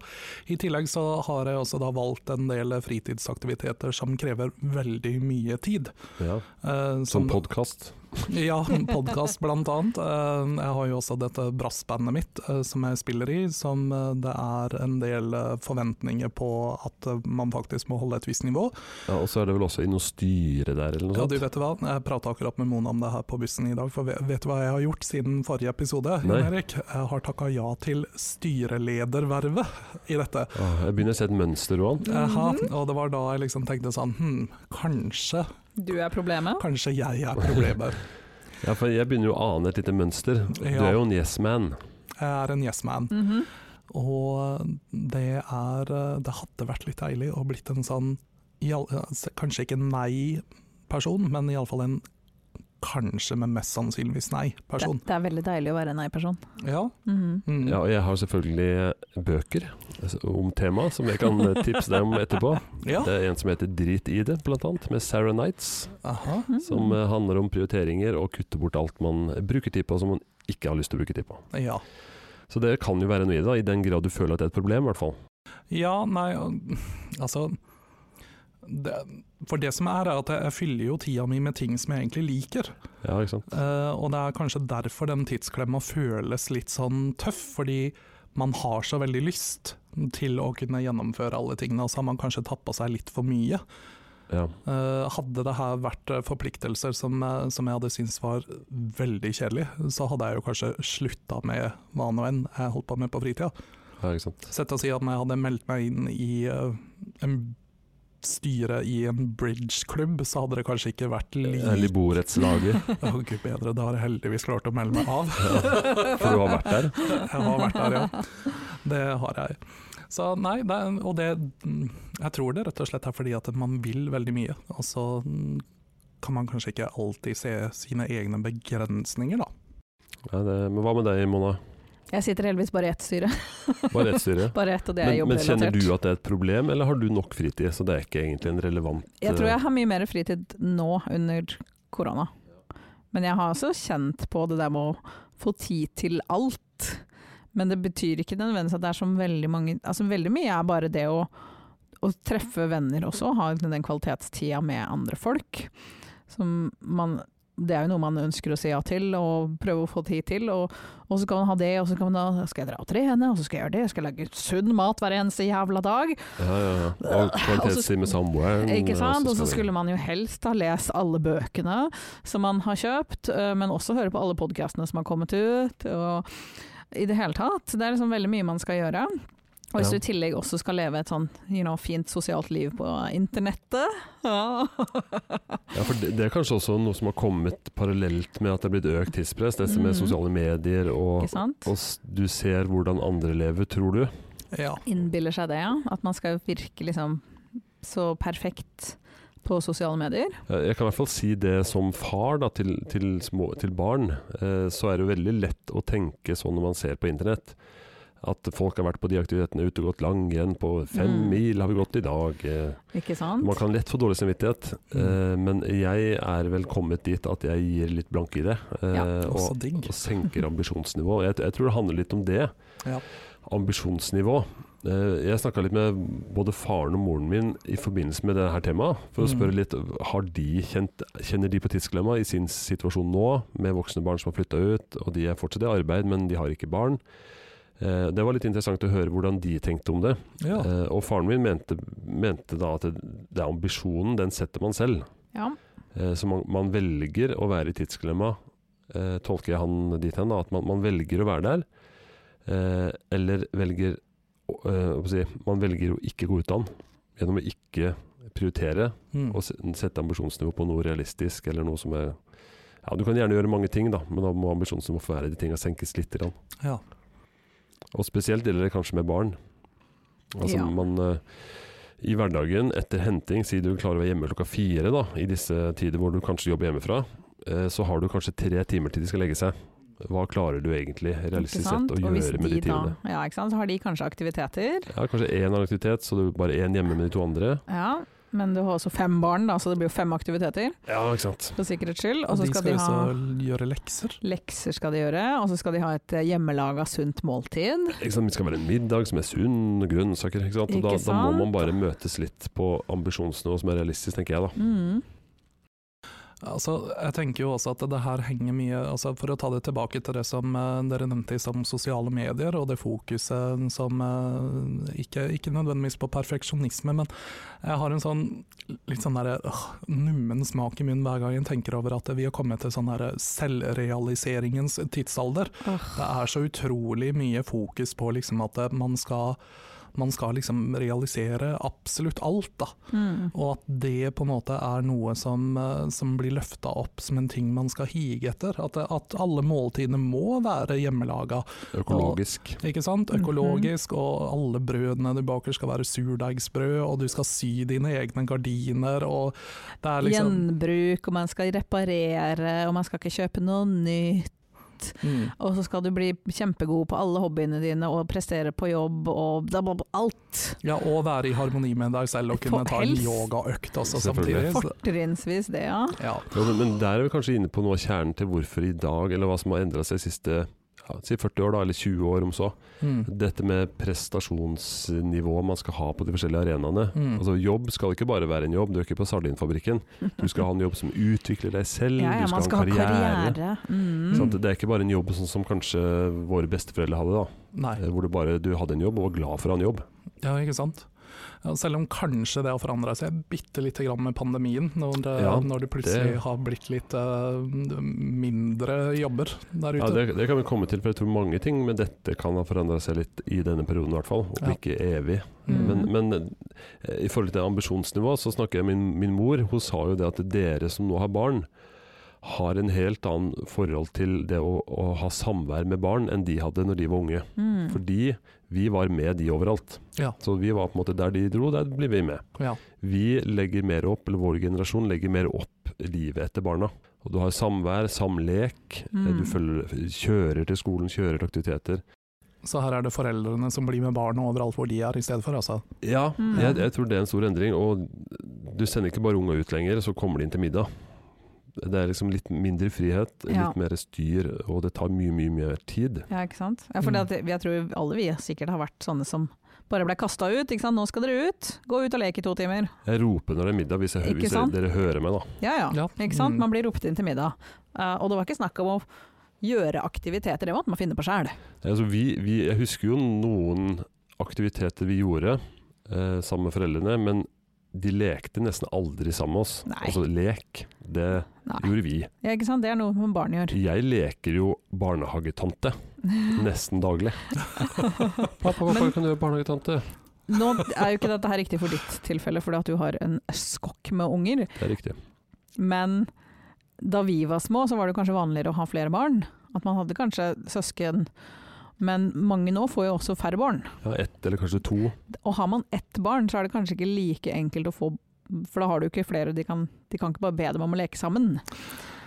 [SPEAKER 4] I tillegg så har jeg også da valgt en del fritidsaktiviteter som krever veldig mye tid.
[SPEAKER 2] Ja.
[SPEAKER 4] Eh,
[SPEAKER 2] Som
[SPEAKER 4] som-
[SPEAKER 2] podkast.
[SPEAKER 4] ja, podkast blant annet. Eh, Jeg har jo også dette brassbandet mitt eh, som jeg spiller i, som eh, det er en del eh, forventninger på at eh, man faktisk må holde et visst nivå.
[SPEAKER 2] Ja, og så er det vel også i noe styre der, eller noe
[SPEAKER 4] Ja,
[SPEAKER 2] sånt.
[SPEAKER 4] du vet du hva, jeg prata akkurat med Mona om det her på bussen i dag, for ve- vet du hva jeg har gjort siden forrige episode? Jon
[SPEAKER 2] Nei.
[SPEAKER 4] Erik? Jeg har takka ja til styreledervervet i dette.
[SPEAKER 2] Åh, jeg begynner å se et mønster, Roan.
[SPEAKER 4] Aha, og det var da jeg liksom tenkte sånn hm, kanskje,
[SPEAKER 3] Du er problemet.
[SPEAKER 4] kanskje jeg er problemet.
[SPEAKER 2] Ja, for jeg begynner jo å ane et lite mønster. Du
[SPEAKER 4] Ja.
[SPEAKER 2] er jo en yes man.
[SPEAKER 4] Jeg er en yes man.
[SPEAKER 3] Mhm.
[SPEAKER 4] Og det er eh, Det hadde vært litt deilig å blitt en sånn i all- altså, Kanskje ikke en nei-person, men iallfall en kanskje, men mest sannsynligvis
[SPEAKER 3] det,
[SPEAKER 4] nei-person.
[SPEAKER 3] det er veldig deilig å være en nei-person.
[SPEAKER 4] Ja.
[SPEAKER 3] Mhm.
[SPEAKER 4] Mm.
[SPEAKER 2] Ja, og jeg har selvfølgelig eh, bøker altså, om temaet som jeg kan eh, tipse deg om etterpå.
[SPEAKER 4] Ja.
[SPEAKER 2] Det er en som heter Drit i det, blant annet, med Sarah Knights.
[SPEAKER 4] Aha.
[SPEAKER 3] Mhm.
[SPEAKER 2] Som eh, handler om prioriteringer og kutte bort alt man bruker tid på som man ikke har lyst til å bruke tid på.
[SPEAKER 4] ja.
[SPEAKER 2] Så det kan jo være noe i det, da, i den grad du føler at det er et problem, i hvert fall.
[SPEAKER 4] Ja, nei, og- altså det, For det som er, er at jeg, jeg fyller jo tida mi med ting som jeg egentlig liker.
[SPEAKER 2] Ja, ikke sant?
[SPEAKER 4] Eh, og det er kanskje derfor den tidsklemma føles litt sånn tøff, fordi man har så veldig lyst til å kunne gjennomføre alle tingene, og så har man kanskje tappa seg litt for mye.
[SPEAKER 2] Ja.
[SPEAKER 4] Eh, Hadde det her vært eh, forpliktelser som, eh, som jeg hadde syntes var veldig kjedelig, så hadde jeg jo kanskje slutta med hva nå enn jeg holdt på med på fritida.
[SPEAKER 2] ja, ikke sant.
[SPEAKER 4] Sett å si at når jeg hadde meldt meg inn i eh, en styre i en bridgeklubb, så hadde det kanskje ikke vært
[SPEAKER 2] Eller
[SPEAKER 4] like
[SPEAKER 2] borettslaget,
[SPEAKER 4] Å, gud bedre, det har jeg heldigvis klart å melde meg av.
[SPEAKER 2] for du har vært der.
[SPEAKER 4] Jeg har vært der, ja. Det har jeg. Så nei, det, er- og det mm, Jeg tror det rett og slett er fordi at man vil veldig mye. Og så mm, kan man kanskje ikke alltid se sine egne begrensninger, da.
[SPEAKER 2] Ja, det, men hva med deg, Mona?
[SPEAKER 3] Jeg sitter heldigvis bare i ett styre.
[SPEAKER 2] Bare rettsstyret.
[SPEAKER 3] Bare ett, og det er
[SPEAKER 2] Men, men
[SPEAKER 3] jobbrelatert.
[SPEAKER 2] kjenner du at det er et problem, eller har du nok fritid? Så det er ikke egentlig en relevant
[SPEAKER 3] Jeg tror jeg har mye mer fritid nå under korona. Men jeg har også kjent på det der med å få tid til alt. Men det betyr ikke nødvendigvis at det er som veldig mange Altså veldig mye er bare det å, å treffe venner også, ha den kvalitetstida med andre folk. Som man det er jo noe man ønsker å si ja til og prøve å få tid til. Og, og så kan man ha det, og så kan man da skal jeg dra og trene, og så skal jeg gjøre det, jeg skal lage sunn mat hver eneste jævla dag.
[SPEAKER 2] Ja, ja, ja. Og kvalitetstid med samboeren. altså,
[SPEAKER 3] Ikke sant? Og så
[SPEAKER 2] Mm, skal vi-
[SPEAKER 3] skulle man jo helst ha lest alle bøkene som man har kjøpt, eh, men også høre på alle podkastene som har kommet ut. Og I det hele tatt. Det er liksom veldig mye man skal gjøre. Og hvis
[SPEAKER 2] Ja.
[SPEAKER 3] du i tillegg også skal leve et sånn you know, fint sosialt liv på internettet ja.
[SPEAKER 2] Ja, for det, det er kanskje også noe som har kommet parallelt med at det er blitt økt tidspress, dette med
[SPEAKER 3] Mhm.
[SPEAKER 2] sosiale medier og,
[SPEAKER 3] Ikke sant?
[SPEAKER 2] og s- du ser hvordan andre lever, tror du?
[SPEAKER 4] Ja.
[SPEAKER 3] Innbiller seg det, ja. At man skal virke liksom så perfekt på sosiale medier.
[SPEAKER 2] Eh, Jeg kan i hvert fall si det som far da, til, til, små, til barn, eh, så er det jo veldig lett å tenke sånn når man ser på internett. At folk har vært på de aktivitetene ute og gått langrenn på fem
[SPEAKER 3] Mm.
[SPEAKER 2] mil har vi gått i dag. eh.
[SPEAKER 3] Ikke sant?
[SPEAKER 2] Man kan lett få dårlig samvittighet,
[SPEAKER 4] Mm.
[SPEAKER 2] eh, men jeg er vel kommet dit at jeg gir litt blanke i det. eh,
[SPEAKER 3] Ja,
[SPEAKER 2] og,
[SPEAKER 4] Også digg.
[SPEAKER 2] og senker ambisjonsnivået. Jeg, jeg tror det handler litt om det.
[SPEAKER 4] Ja.
[SPEAKER 2] Ambisjonsnivå. Eh, Jeg snakka litt med både faren og moren min i forbindelse med det her temaet, for å
[SPEAKER 4] Mm.
[SPEAKER 2] spørre litt har de kjent, Kjenner de på tidsklemma i sin situasjon nå, med voksne barn som har flytta ut, og de er fortsatt i arbeid, men de har ikke barn? Eh, Det var litt interessant å høre hvordan de tenkte om det.
[SPEAKER 4] Ja.
[SPEAKER 2] Eh, Og faren min mente, mente da at det det er ambisjonen, den setter man selv.
[SPEAKER 3] Ja.
[SPEAKER 2] Eh, Så man, man velger å være i tidsklemma, eh, tolker jeg han dit hen, da, at man, man velger å være der. Eh, eller velger å- eh, hva skal jeg si, Man velger å ikke gå ut av den gjennom å ikke prioritere
[SPEAKER 4] Mm.
[SPEAKER 2] eh, og se- sette ambisjonsnivå på noe realistisk eller noe som er ja, Du kan gjerne gjøre mange ting, da, men da må ambisjonsnivået for hver av de tingene senkes litt. Grann.
[SPEAKER 4] ja.
[SPEAKER 2] Og spesielt gjelder det kanskje med barn. Altså
[SPEAKER 3] Ja.
[SPEAKER 2] man eh, i hverdagen etter henting, si du klarer å være hjemme klokka fire da, i disse tider hvor du kanskje jobber hjemmefra, eh, så har du kanskje tre timer til de skal legge seg. Hva klarer du egentlig
[SPEAKER 3] Ikke
[SPEAKER 2] realistisk
[SPEAKER 3] sant?
[SPEAKER 2] sett å
[SPEAKER 3] Og hvis
[SPEAKER 2] gjøre med de
[SPEAKER 3] da-
[SPEAKER 2] timene?
[SPEAKER 3] Ja, ikke sant? Så har de kanskje aktiviteter.
[SPEAKER 2] Ja, kanskje én aktivitet, så du er bare én hjemme med de to andre.
[SPEAKER 3] Ja, men du har også fem barn, da, så det blir jo fem aktiviteter
[SPEAKER 2] Ja, ikke sant.
[SPEAKER 3] for sikkerhets skyld. Og
[SPEAKER 4] Og
[SPEAKER 3] så
[SPEAKER 4] de skal
[SPEAKER 3] skal de
[SPEAKER 4] jo
[SPEAKER 3] ha
[SPEAKER 4] også gjøre lekser.
[SPEAKER 3] lekser, skal de gjøre, og så skal de ha et eh, hjemmelaga sunt måltid.
[SPEAKER 2] Ikke sant? Det skal være en middag som er sunn, og grønnsaker. Ikke sant? Og da,
[SPEAKER 3] Ikke
[SPEAKER 2] da må
[SPEAKER 3] sant?
[SPEAKER 2] man bare møtes litt på ambisjonsnivå som er realistisk, tenker jeg da.
[SPEAKER 3] Mm.
[SPEAKER 4] Altså, jeg tenker jo også at det her henger mye altså For å ta det tilbake til det som eh, dere nevnte som sosiale medier, og det fokuset som eh, ikke, ikke nødvendigvis på perfeksjonisme, men jeg har en sånn litt sånn derre øh, nummen smak i munnen hver gang jeg tenker over at vi har kommet til sånn derre selvrealiseringens tidsalder.
[SPEAKER 3] Åh.
[SPEAKER 4] Det er så utrolig mye fokus på liksom at eh, man skal man skal liksom realisere absolutt alt, da.
[SPEAKER 3] Mm.
[SPEAKER 4] Og at det på en måte er noe som, eh, som blir løfta opp som en ting man skal hige etter. At, at alle måltidene må være hjemmelaga.
[SPEAKER 2] Økologisk.
[SPEAKER 4] Ikke sant?
[SPEAKER 3] Mhm.
[SPEAKER 4] Økologisk, og alle brødene du baker skal være surdeigsbrød, og du skal sy dine egne gardiner, og det er liksom
[SPEAKER 3] Gjenbruk, og man skal reparere, og man skal ikke kjøpe noe nytt.
[SPEAKER 4] mm,
[SPEAKER 3] Og så skal du bli kjempegod på alle hobbyene dine og prestere på jobb og da- da- da- alt.
[SPEAKER 4] Ja, og være i harmoni med deg selv og kunne
[SPEAKER 3] For
[SPEAKER 4] ta en
[SPEAKER 3] helst.
[SPEAKER 4] yogaøkt også samtidig.
[SPEAKER 2] Selvfølgelig.
[SPEAKER 4] Så,
[SPEAKER 3] Fortrinnsvis det, ja.
[SPEAKER 4] ja.
[SPEAKER 2] Jo, men, men der er vi kanskje inne på noe av kjernen til hvorfor i dag, eller hva som har endra seg de siste ja, si 40 år, da, eller 20 år om så.
[SPEAKER 4] Mm,
[SPEAKER 2] Dette med prestasjonsnivået man skal ha på de forskjellige arenaene.
[SPEAKER 4] Mm.
[SPEAKER 2] Altså Jobb skal ikke bare være en jobb, du er ikke på sardinfabrikken. Du skal ha en jobb som utvikler deg selv,
[SPEAKER 3] ja, ja
[SPEAKER 2] du skal,
[SPEAKER 3] man skal ha
[SPEAKER 2] ha en karriere.
[SPEAKER 3] karriere. Mm.
[SPEAKER 2] Sant? det er ikke bare en jobb sånn som kanskje våre besteforeldre hadde, da. eh,
[SPEAKER 4] nei.
[SPEAKER 2] Hvor du bare du hadde en jobb og var glad for å ha en jobb.
[SPEAKER 4] Ja, ikke sant. Ja, Selv om kanskje det har forandra seg bitte lite grann med pandemien, når det,
[SPEAKER 2] Ja,
[SPEAKER 4] når det plutselig
[SPEAKER 2] det-
[SPEAKER 4] har blitt litt eh, mindre jobber der
[SPEAKER 2] Ja,
[SPEAKER 4] ute.
[SPEAKER 2] det, det kan vi komme til, for jeg tror mange ting med dette kan ha forandra seg litt i denne perioden i hvert fall, og
[SPEAKER 4] Ja.
[SPEAKER 2] ikke evig. Men,
[SPEAKER 3] Mm.
[SPEAKER 2] men eh, i forhold til det ambisjonsnivået, så snakker jeg min, min mor, hun sa jo det at dere som nå har barn, har en helt annen forhold til det å, å ha samvær med barn enn de hadde når de var unge.
[SPEAKER 3] Mm.
[SPEAKER 2] Fordi vi var med de overalt.
[SPEAKER 4] Ja.
[SPEAKER 2] Så vi var på en måte der de dro, der blir vi med.
[SPEAKER 4] ja.
[SPEAKER 2] Vi legger mer opp, eller vår generasjon legger mer opp livet etter barna. Og du har samvær, samlek, eh,
[SPEAKER 3] Mm.
[SPEAKER 2] du følger, kjører til skolen, kjører til aktiviteter.
[SPEAKER 4] Så her er det foreldrene som blir med barna overalt hvor de er, i stedet for. Altså.
[SPEAKER 2] Ja,
[SPEAKER 3] Mm.
[SPEAKER 2] jeg, jeg tror det er en stor endring. Og du sender ikke bare unga ut lenger, så kommer de inn til middag. Det er liksom litt mindre frihet, litt
[SPEAKER 3] Ja.
[SPEAKER 2] mer styr, og det tar mye, mye mer tid.
[SPEAKER 3] Ja, ikke sant? Ja, for det at, jeg tror alle vi sikkert har vært sånne som bare ble kasta ut. Ikke sant? 'Nå skal dere ut! Gå ut og leke i to timer!'
[SPEAKER 2] Jeg roper når det er middag, hvis, jeg,
[SPEAKER 3] Ikke
[SPEAKER 2] hvis jeg,
[SPEAKER 3] sant?
[SPEAKER 2] dere hører meg, da.
[SPEAKER 3] Ja ja,
[SPEAKER 4] Ja.
[SPEAKER 3] ikke sant?
[SPEAKER 4] Mm.
[SPEAKER 3] Man blir ropt inn til middag. Eh, og det var ikke snakk om å gjøre aktiviteter, det måtte man finne på sjæl.
[SPEAKER 2] Altså, vi, vi, jeg husker jo noen aktiviteter vi gjorde eh, sammen med foreldrene, men de lekte nesten aldri sammen med oss.
[SPEAKER 3] Nei.
[SPEAKER 2] Altså lek, det
[SPEAKER 3] Nei.
[SPEAKER 2] gjorde vi.
[SPEAKER 3] Ja, ikke sant? Det er noe med barn gjør.
[SPEAKER 2] Jeg leker jo barnehagetante nesten daglig. Pappa, pappa,
[SPEAKER 3] Men-
[SPEAKER 2] kan du gjøre barnehagetante?
[SPEAKER 3] Nå er jo ikke dette her riktig for ditt tilfelle, fordi at du har en skokk med unger.
[SPEAKER 2] Det er riktig.
[SPEAKER 3] Men da vi var små, så var det kanskje vanligere å ha flere barn. At man hadde kanskje søsken. Men mange nå får jo også færre barn.
[SPEAKER 2] Ja, ett eller kanskje to.
[SPEAKER 3] Og har man ett barn, så er det kanskje ikke like enkelt å få For da har du ikke flere, de kan, de kan ikke bare be dem om å leke sammen.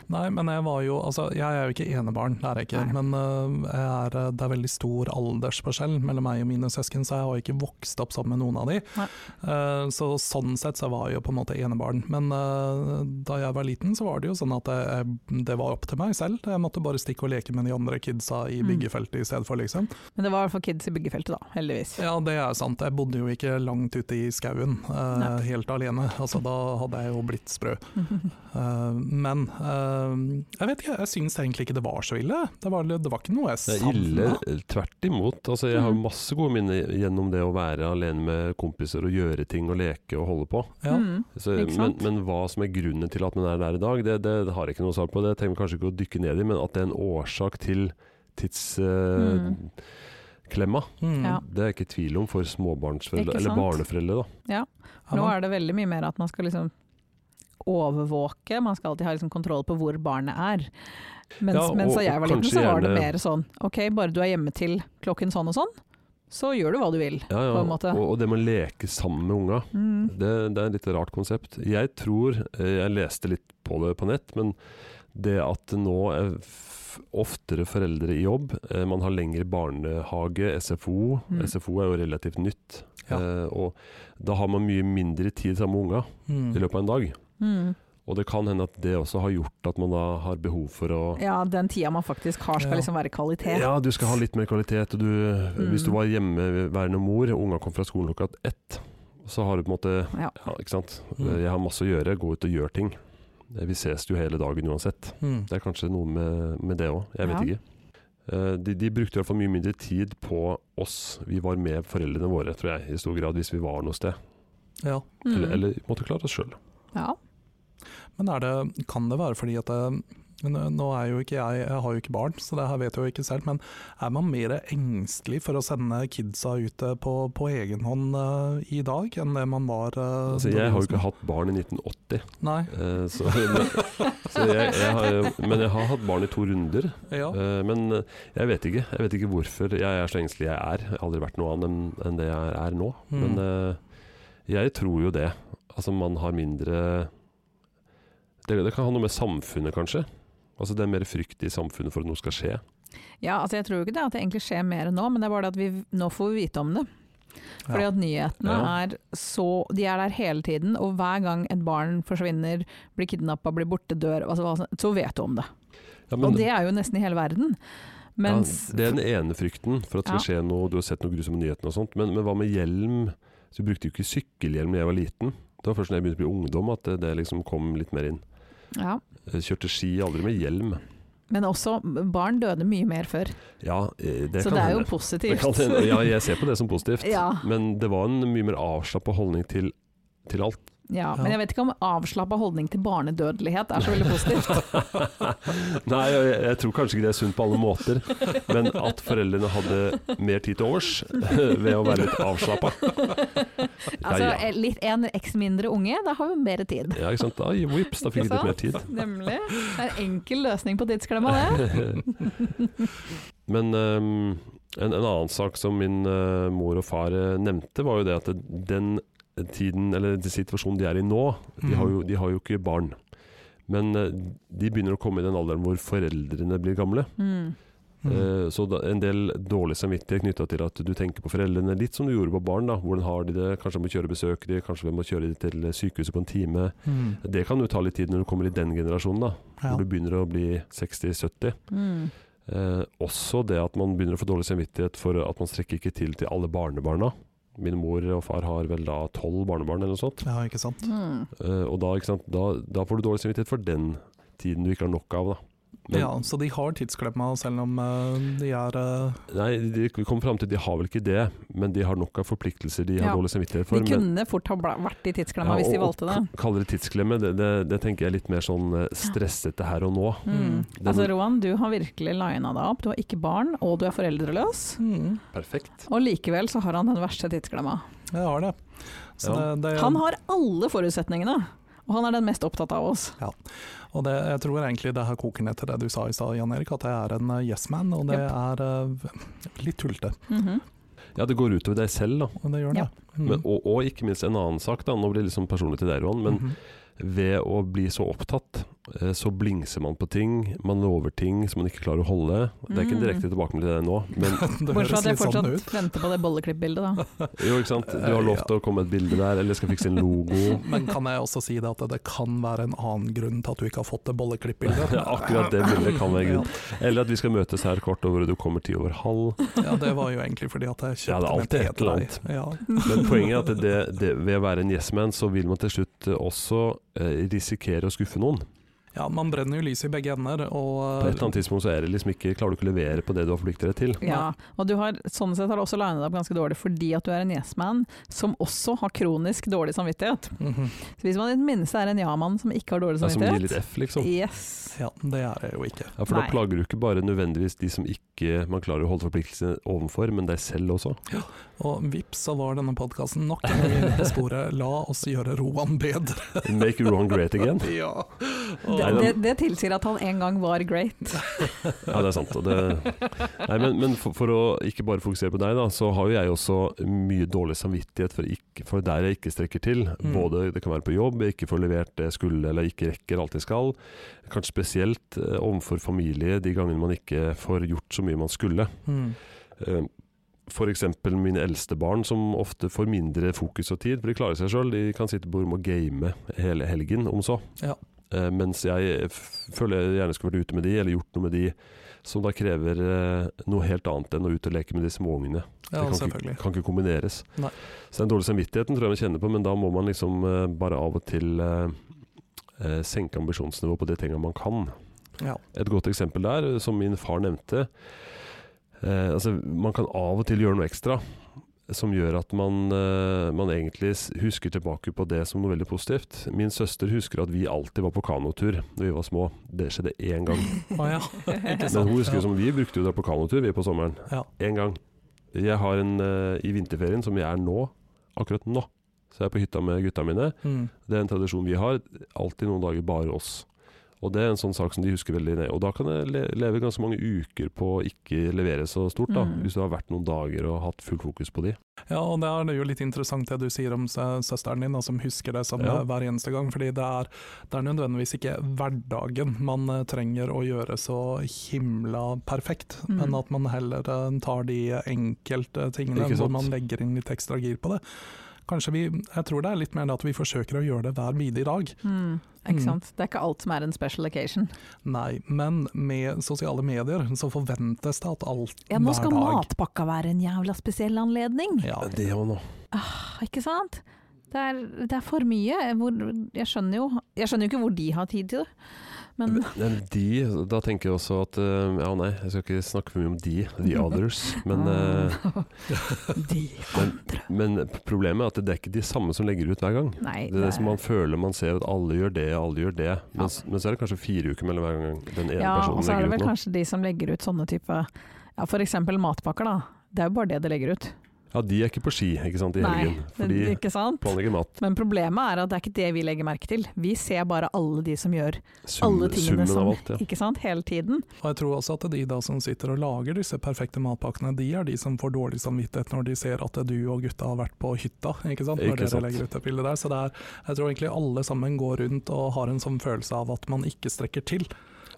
[SPEAKER 4] Nei, men jeg var jo Altså, jeg er jo ikke enebarn, det er jeg ikke.
[SPEAKER 3] Nei.
[SPEAKER 4] Men øh, jeg er, øh, det er veldig stor aldersforskjell mellom meg og mine søsken, så jeg har jo ikke vokst opp sammen med noen av de.
[SPEAKER 3] Nei.
[SPEAKER 4] Eh, så sånn sett så var jeg jo på en måte enebarn. Men øh, da jeg var liten, så var det jo sånn at jeg, jeg- det var opp til meg selv. Jeg måtte bare stikke og leke med de andre kidsa i
[SPEAKER 3] Mm.
[SPEAKER 4] byggefeltet i stedet for, liksom.
[SPEAKER 3] Men det var i hvert fall kids i byggefeltet, da, heldigvis.
[SPEAKER 4] Ja, det er sant. Jeg bodde jo ikke langt ute i skauen eh,
[SPEAKER 3] Nei.
[SPEAKER 4] helt alene. Altså, da hadde jeg jo blitt sprø.
[SPEAKER 3] Mm.
[SPEAKER 4] Eh, men eh, jeg vet ikke, jeg syns egentlig ikke det var så ille. Det var, det var ikke noe jeg
[SPEAKER 2] Det er ille
[SPEAKER 4] savna.
[SPEAKER 2] eh, tvert imot. Altså, jeg
[SPEAKER 3] Mm.
[SPEAKER 2] har masse gode minner gjennom det å være alene med kompiser og gjøre ting og leke og holde på.
[SPEAKER 4] Ja.
[SPEAKER 3] Mm.
[SPEAKER 2] Så,
[SPEAKER 3] Ikke
[SPEAKER 2] men,
[SPEAKER 3] sant?
[SPEAKER 2] men hva som er grunnen til at man er der i dag, det, det har jeg ikke noe svar på. Det trenger vi kanskje ikke å dykke ned i, men at det er en årsak til
[SPEAKER 3] Mm.
[SPEAKER 2] tidsklemma,
[SPEAKER 4] Mm.
[SPEAKER 3] Ja.
[SPEAKER 2] det er jeg ikke i tvil om for småbarnsforeldre,
[SPEAKER 3] Ikke
[SPEAKER 2] eller
[SPEAKER 3] sant?
[SPEAKER 2] barneforeldre. da.
[SPEAKER 4] Ja,
[SPEAKER 3] Nå
[SPEAKER 4] men-
[SPEAKER 3] er det veldig mye mer at man skal liksom overvåke, man skal alltid ha liksom kontroll på hvor barnet er. Mens,
[SPEAKER 2] Ja, og-
[SPEAKER 3] mens da
[SPEAKER 2] og
[SPEAKER 3] jeg var liten,
[SPEAKER 2] kanskje
[SPEAKER 3] så var det
[SPEAKER 2] gjerne-
[SPEAKER 3] mer sånn ok, bare du er hjemme til klokken sånn og sånn, så gjør du hva du vil.
[SPEAKER 2] Ja, ja.
[SPEAKER 3] På en måte.
[SPEAKER 2] Og, og det med å leke sammen med unga,
[SPEAKER 3] Mm.
[SPEAKER 2] det, det er et litt rart konsept. Jeg tror, eh, jeg leste litt på det på nett, men det at nå er f- oftere foreldre i jobb, eh, man har lengre barnehage, SFO,
[SPEAKER 3] Mm.
[SPEAKER 2] SFO er jo relativt nytt,
[SPEAKER 4] Ja.
[SPEAKER 2] eh, og da har man mye mindre tid sammen med unga
[SPEAKER 4] Mm.
[SPEAKER 2] i løpet av en dag.
[SPEAKER 3] Mm.
[SPEAKER 2] Og det kan hende at det også har gjort at man da har behov for å
[SPEAKER 3] Ja, den tida man faktisk har skal
[SPEAKER 4] Ja.
[SPEAKER 3] liksom være kvalitet.
[SPEAKER 2] ja, du skal ha litt mer kvalitet. Og du, Hvis
[SPEAKER 3] Mm.
[SPEAKER 2] du var hjemmeværende mor, unga kom fra skolen klokka ett, så har du på en måte
[SPEAKER 3] Ja.
[SPEAKER 2] Ja, ikke sant. Eh,
[SPEAKER 4] Mm.
[SPEAKER 2] Jeg har masse å gjøre, gå ut og gjør ting. Eh, Vi ses jo hele dagen uansett.
[SPEAKER 4] Mm.
[SPEAKER 2] Det er kanskje noe med, med det òg, jeg vet
[SPEAKER 3] Ja.
[SPEAKER 2] ikke. Eh, De, de brukte i hvert fall mye mindre tid på oss. Vi var med foreldrene våre, tror jeg, i stor grad, hvis vi var noe sted.
[SPEAKER 4] Ja.
[SPEAKER 3] Mm.
[SPEAKER 2] Eller, eller måtte klare oss sjøl.
[SPEAKER 3] ja.
[SPEAKER 4] Men er det, kan det være fordi at det, eh, nå- nå er jo ikke jeg, jeg har jo ikke barn, så det her vet jeg jo ikke selv, men er man mer engstelig for å sende kidsa ut eh, på, på egen hånd eh, i dag enn det man var eh,
[SPEAKER 2] Altså,
[SPEAKER 4] da vi
[SPEAKER 2] jeg har
[SPEAKER 4] var
[SPEAKER 2] jo ikke
[SPEAKER 4] små?
[SPEAKER 2] hatt barn i 1980,
[SPEAKER 4] Nei,
[SPEAKER 2] eh, så, men, så jeg, jeg har, jo- men jeg har hatt barn i to runder.
[SPEAKER 4] ja.
[SPEAKER 2] Eh, Men eh, jeg vet ikke. Jeg vet ikke hvorfor jeg er så engstelig jeg er. Jeg har aldri vært noe annet enn- enn det jeg er nå.
[SPEAKER 4] Mm.
[SPEAKER 2] Men eh, jeg tror jo det. Altså, man har mindre det, det kan ha noe med samfunnet, kanskje. Altså, det er mer frykt i samfunnet for at noe skal skje.
[SPEAKER 3] Ja, altså jeg tror jo ikke det at det egentlig skjer mer nå, men det er bare det at vi nå får vi vite om det. Fordi
[SPEAKER 4] Ja.
[SPEAKER 3] at nyhetene
[SPEAKER 2] Ja.
[SPEAKER 3] er så De er der hele tiden, og hver gang et barn forsvinner, blir kidnappa, blir borte, dør, altså, hva som- så vet du om det.
[SPEAKER 2] Ja,
[SPEAKER 3] Og det er jo nesten i hele verden. Mens
[SPEAKER 2] ja, det er den ene frykten for at det skal skje noe, du har sett noe grusomme nyheter og sånt. Men, men hva med hjelm? Så vi brukte jo ikke sykkelhjelm da jeg var liten. Det var først da jeg begynte å bli ungdom at det, det liksom kom litt mer inn.
[SPEAKER 3] ja.
[SPEAKER 2] Jeg Kjørte ski aldri med hjelm.
[SPEAKER 3] Men også, barn døde mye mer før,
[SPEAKER 2] Ja, eh, det
[SPEAKER 3] så
[SPEAKER 2] kan
[SPEAKER 3] det er jo
[SPEAKER 2] hende. Det kan
[SPEAKER 3] positivt.
[SPEAKER 2] hende. Ja, jeg ser på det som positivt.
[SPEAKER 3] Ja.
[SPEAKER 2] Men det var en mye mer avslappa holdning til, til alt.
[SPEAKER 4] Ja.
[SPEAKER 3] Ja, men jeg vet ikke om avslappa holdning til barnedødelighet er så veldig positivt.
[SPEAKER 2] Nei, jeg, jeg tror kanskje ikke det er sunt på alle måter, men at foreldrene hadde mer tid til overs ved å være litt avslappa.
[SPEAKER 3] Altså,
[SPEAKER 2] ja.
[SPEAKER 3] eh, litt en x mindre unge, da har vi mer tid.
[SPEAKER 2] Ja, ikke sant. Ai, vips, da fikk vi litt mer tid.
[SPEAKER 3] Nemlig. Det er en enkel løsning på tidsklemma, det.
[SPEAKER 2] Men ehm, en, en annen sak som min eh, mor og far eh, nevnte, var jo det at den tiden, eller den situasjonen de er i nå, de har jo, de har jo ikke barn. Men eh, de begynner å komme i den alderen hvor foreldrene blir gamle.
[SPEAKER 3] Mm.
[SPEAKER 2] Eh, Så da, en del dårlig samvittighet knytta til at du tenker på foreldrene, litt som du gjorde på barn. da, Hvordan har de det? Kanskje de må kjøre besøk, de, kanskje de må kjøre de til sykehuset på en time.
[SPEAKER 4] Mm.
[SPEAKER 2] Det kan jo ta litt tid når du kommer i den generasjonen, da,
[SPEAKER 4] Ja.
[SPEAKER 2] hvor du begynner å bli 60-70.
[SPEAKER 3] Mm.
[SPEAKER 2] Eh, også det at man begynner å få dårlig samvittighet for at man strekker ikke til til alle barnebarna. Min mor og far har vel da tolv barnebarn eller noe sånt.
[SPEAKER 4] ja, ikke sant.
[SPEAKER 3] Mm.
[SPEAKER 2] Eh, og da, ikke sant, da, da får du dårlig samvittighet for den tiden du ikke har nok av, da. Men-
[SPEAKER 4] Ja, så de har tidsklemma selv om eh, de er eh,
[SPEAKER 2] Nei, de vi kom frem til at de har vel ikke det, men de har nok av forpliktelser de har
[SPEAKER 3] Ja.
[SPEAKER 2] dårlig samvittighet for.
[SPEAKER 3] De kunne fort ha bla- vært i tidsklemma
[SPEAKER 2] Ja,
[SPEAKER 3] hvis de
[SPEAKER 2] og-
[SPEAKER 3] valgte det.
[SPEAKER 2] men kaller det tidsklemme, det, det, det tenker jeg er litt mer sånn eh, stressete her og nå.
[SPEAKER 3] Mm.
[SPEAKER 2] Den-
[SPEAKER 3] Altså Roan, du har virkelig lina deg opp. Du har ikke barn, og du er foreldreløs.
[SPEAKER 4] mm,
[SPEAKER 2] Perfekt.
[SPEAKER 3] Og likevel så har han den verste tidsklemma.
[SPEAKER 4] Jeg har det. Så
[SPEAKER 2] Ja.
[SPEAKER 4] det, det
[SPEAKER 3] Han har alle forutsetningene, og han er den mest opptatt av oss.
[SPEAKER 4] Og det, jeg tror egentlig det her koker ned til det du sa i stad, Jan Erik, at jeg er en eh, yes man, og det
[SPEAKER 3] Japp.
[SPEAKER 4] er eh, litt tullete.
[SPEAKER 3] Mhm.
[SPEAKER 2] Ja, det går utover deg selv, da.
[SPEAKER 4] Og det gjør
[SPEAKER 3] Ja.
[SPEAKER 4] det. Mm.
[SPEAKER 2] Men, og, og ikke minst en annen sak, da. Nå blir det liksom personlig til deg, Roan. Men
[SPEAKER 4] Mhm.
[SPEAKER 2] ved å bli så opptatt, eh, så blingser man på ting. Man lover ting som man ikke klarer å holde. Det er ikke en
[SPEAKER 3] Mm.
[SPEAKER 2] direkte tilbakemelding til deg nå, men
[SPEAKER 4] det
[SPEAKER 3] Bortsett fra
[SPEAKER 4] høres
[SPEAKER 3] at jeg
[SPEAKER 4] litt sånn
[SPEAKER 3] fortsatt
[SPEAKER 4] ut.
[SPEAKER 3] venter på det bolleklipp-bildet, da.
[SPEAKER 2] jo, ikke sant. Du har lovt å komme med et bilde der, eller skal fikse en logo.
[SPEAKER 4] Men kan jeg også si det at det kan være en annen grunn til at du ikke har fått det bolleklipp-bildet?
[SPEAKER 2] Ja, akkurat det bildet kan være grunn. Eller at vi skal møtes her kort over, og du kommer ti over halv.
[SPEAKER 4] Ja, ja, det var jo egentlig fordi at jeg kjøpte
[SPEAKER 2] Ja, det er
[SPEAKER 4] en
[SPEAKER 2] alltid
[SPEAKER 4] te
[SPEAKER 2] et
[SPEAKER 4] til
[SPEAKER 2] eller
[SPEAKER 4] deg. Ja.
[SPEAKER 2] Men poenget er at det, det, ved å være en yes-man, så vil man til slutt eh, også eh, risikere å skuffe noen.
[SPEAKER 4] ja, man brenner jo lyset i begge ender,
[SPEAKER 2] På et
[SPEAKER 4] og
[SPEAKER 2] eller annet tidspunkt så er det liksom ikke, klarer du ikke å levere på det du har forpliktet deg til.
[SPEAKER 3] Ja, og du har sånn sett har du også linet deg opp ganske dårlig fordi at du er en yes-man som også har kronisk dårlig samvittighet.
[SPEAKER 4] Mhm.
[SPEAKER 3] Så hvis man i det minste er en ja-mann som ikke har dårlig
[SPEAKER 2] Ja, som gir
[SPEAKER 3] samvittighet
[SPEAKER 2] litt F, liksom.
[SPEAKER 3] Yes.
[SPEAKER 4] ja, det er jeg jo ikke.
[SPEAKER 2] Ja, for da
[SPEAKER 3] Nei.
[SPEAKER 2] plager du ikke bare nødvendigvis de som ikke man klarer å holde forpliktelsene overfor, men deg selv også.
[SPEAKER 4] Og vips, så var denne podkasten nok en gang inne på sporet 'La oss gjøre Roan bedre'.
[SPEAKER 2] Make Rohan great again.
[SPEAKER 4] Ja.
[SPEAKER 3] Det,
[SPEAKER 2] Nei,
[SPEAKER 3] det,
[SPEAKER 2] den-
[SPEAKER 3] det tilsier at han en gang var great.
[SPEAKER 2] Ja, det er sant. Og det, nei, men men for, for å ikke bare fokusere på deg, da, så har jo jeg også mye dårlig samvittighet for, ikke, for der jeg ikke strekker til.
[SPEAKER 4] Mm.
[SPEAKER 2] Både det kan være på jobb, jeg ikke får levert det jeg skulle eller ikke rekker alt jeg skal. Kanskje spesielt eh, overfor familie de gangene man ikke får gjort så mye man skulle.
[SPEAKER 4] Mm.
[SPEAKER 2] Eh, For eksempel mine eldste barn, som ofte får mindre fokus og tid, for de klarer seg sjøl. De kan sitte på rommet og game hele helgen, om så.
[SPEAKER 4] Ja.
[SPEAKER 2] Eh, mens jeg f- føler jeg gjerne skulle vært ute med de, eller gjort noe med de som da krever eh, noe helt annet enn å ut og leke med de små ungene.
[SPEAKER 4] ja,
[SPEAKER 2] det kan ikke,
[SPEAKER 4] selvfølgelig.
[SPEAKER 2] kan ikke kombineres.
[SPEAKER 4] Nei.
[SPEAKER 2] Så den dårlige samvittigheten tror jeg man kjenner på, men da må man liksom eh, bare av og til eh, eh, senke ambisjonsnivået på de tingene man kan.
[SPEAKER 4] Ja.
[SPEAKER 2] Et godt eksempel der, som min far nevnte eh, altså, Man kan av og til gjøre noe ekstra som gjør at man, eh, man egentlig s- husker tilbake på det som noe veldig positivt. Min søster husker at vi alltid var på kanotur da vi var små. Det skjedde én gang.
[SPEAKER 4] Å ja, ikke sant.
[SPEAKER 2] Men hun husker
[SPEAKER 4] ja.
[SPEAKER 2] jo som vi brukte jo dra på kanotur vi på sommeren.
[SPEAKER 4] Ja.
[SPEAKER 2] Én gang. Jeg har en eh, i vinterferien, som jeg er nå, akkurat nå, så jeg er på hytta med gutta mine.
[SPEAKER 4] Mm.
[SPEAKER 2] Det er en tradisjon vi har. Alltid noen dager bare oss. Og det er en sånn sak som de husker veldig nøye. Og da kan jeg le leve ganske mange uker på å ikke levere så stort, da.
[SPEAKER 3] Mm.
[SPEAKER 2] Hvis du har vært noen dager og hatt fullt fokus på de.
[SPEAKER 4] Ja, og det er jo litt interessant det du sier om sø- søsteren din, da, som husker det som
[SPEAKER 2] Ja.
[SPEAKER 4] eh, hver eneste gang. fordi det er, det er nødvendigvis ikke hverdagen man eh, trenger å gjøre så himla perfekt,
[SPEAKER 3] Mm.
[SPEAKER 4] men at man heller eh, tar de enkelte tingene
[SPEAKER 2] Ikke sant?
[SPEAKER 4] hvor man legger inn litt ekstra gir på det. Kanskje vi, Jeg tror det er litt mer det at vi forsøker å gjøre det hver bidige dag.
[SPEAKER 3] Mm.
[SPEAKER 4] Mm.
[SPEAKER 3] Ikke sant? Det er ikke alt som er en special occasion.
[SPEAKER 4] Nei, men med sosiale medier så forventes det at alt
[SPEAKER 3] Ja, nå skal
[SPEAKER 4] hver dag
[SPEAKER 3] matpakka være en jævla spesiell anledning,
[SPEAKER 4] ja,
[SPEAKER 2] Det òg nå.
[SPEAKER 3] ikke sant? Det er, det er for mye. Hvor, jeg skjønner jo Jeg skjønner jo ikke hvor de har tid til det. Men
[SPEAKER 2] Men de, da tenker jeg også at eh, Ja, nei, jeg skal ikke snakke for mye om de, the others. Men, eh,
[SPEAKER 3] De andre.
[SPEAKER 2] men problemet er at det er ikke de samme som legger ut hver gang.
[SPEAKER 3] Nei,
[SPEAKER 2] Det er det som man føler man ser at alle gjør det, alle gjør det. Men, men så er det kanskje fire uker mellom hver gang den ene
[SPEAKER 3] ja, og
[SPEAKER 2] personen
[SPEAKER 3] så er det
[SPEAKER 2] legger
[SPEAKER 3] vel
[SPEAKER 2] ut noe.
[SPEAKER 3] kanskje de som legger ut sånne type Ja, f.eks. matpakker, da. Det er jo bare det de legger ut.
[SPEAKER 2] Ja, de er ikke på ski ikke sant, i
[SPEAKER 3] Nei,
[SPEAKER 2] helgen, for
[SPEAKER 3] det-
[SPEAKER 2] de
[SPEAKER 3] ikke sant?
[SPEAKER 2] planlegger mat.
[SPEAKER 3] Men problemet er at det er ikke det vi legger merke til. Vi ser bare alle de som gjør
[SPEAKER 2] Sum,
[SPEAKER 3] alle tingene
[SPEAKER 2] summen
[SPEAKER 3] som,
[SPEAKER 2] av alt, ja.
[SPEAKER 3] ikke sant, hele tiden.
[SPEAKER 4] Og jeg tror også at de da som sitter og lager disse perfekte matpakkene, de er de som får dårlig samvittighet når de ser at du og gutta har vært på hytta, ikke sant? når
[SPEAKER 2] Ikke
[SPEAKER 4] dere
[SPEAKER 2] sant.
[SPEAKER 4] legger ut det bildet der. Så det er, jeg tror egentlig alle sammen går rundt og har en sånn følelse av at man ikke strekker til.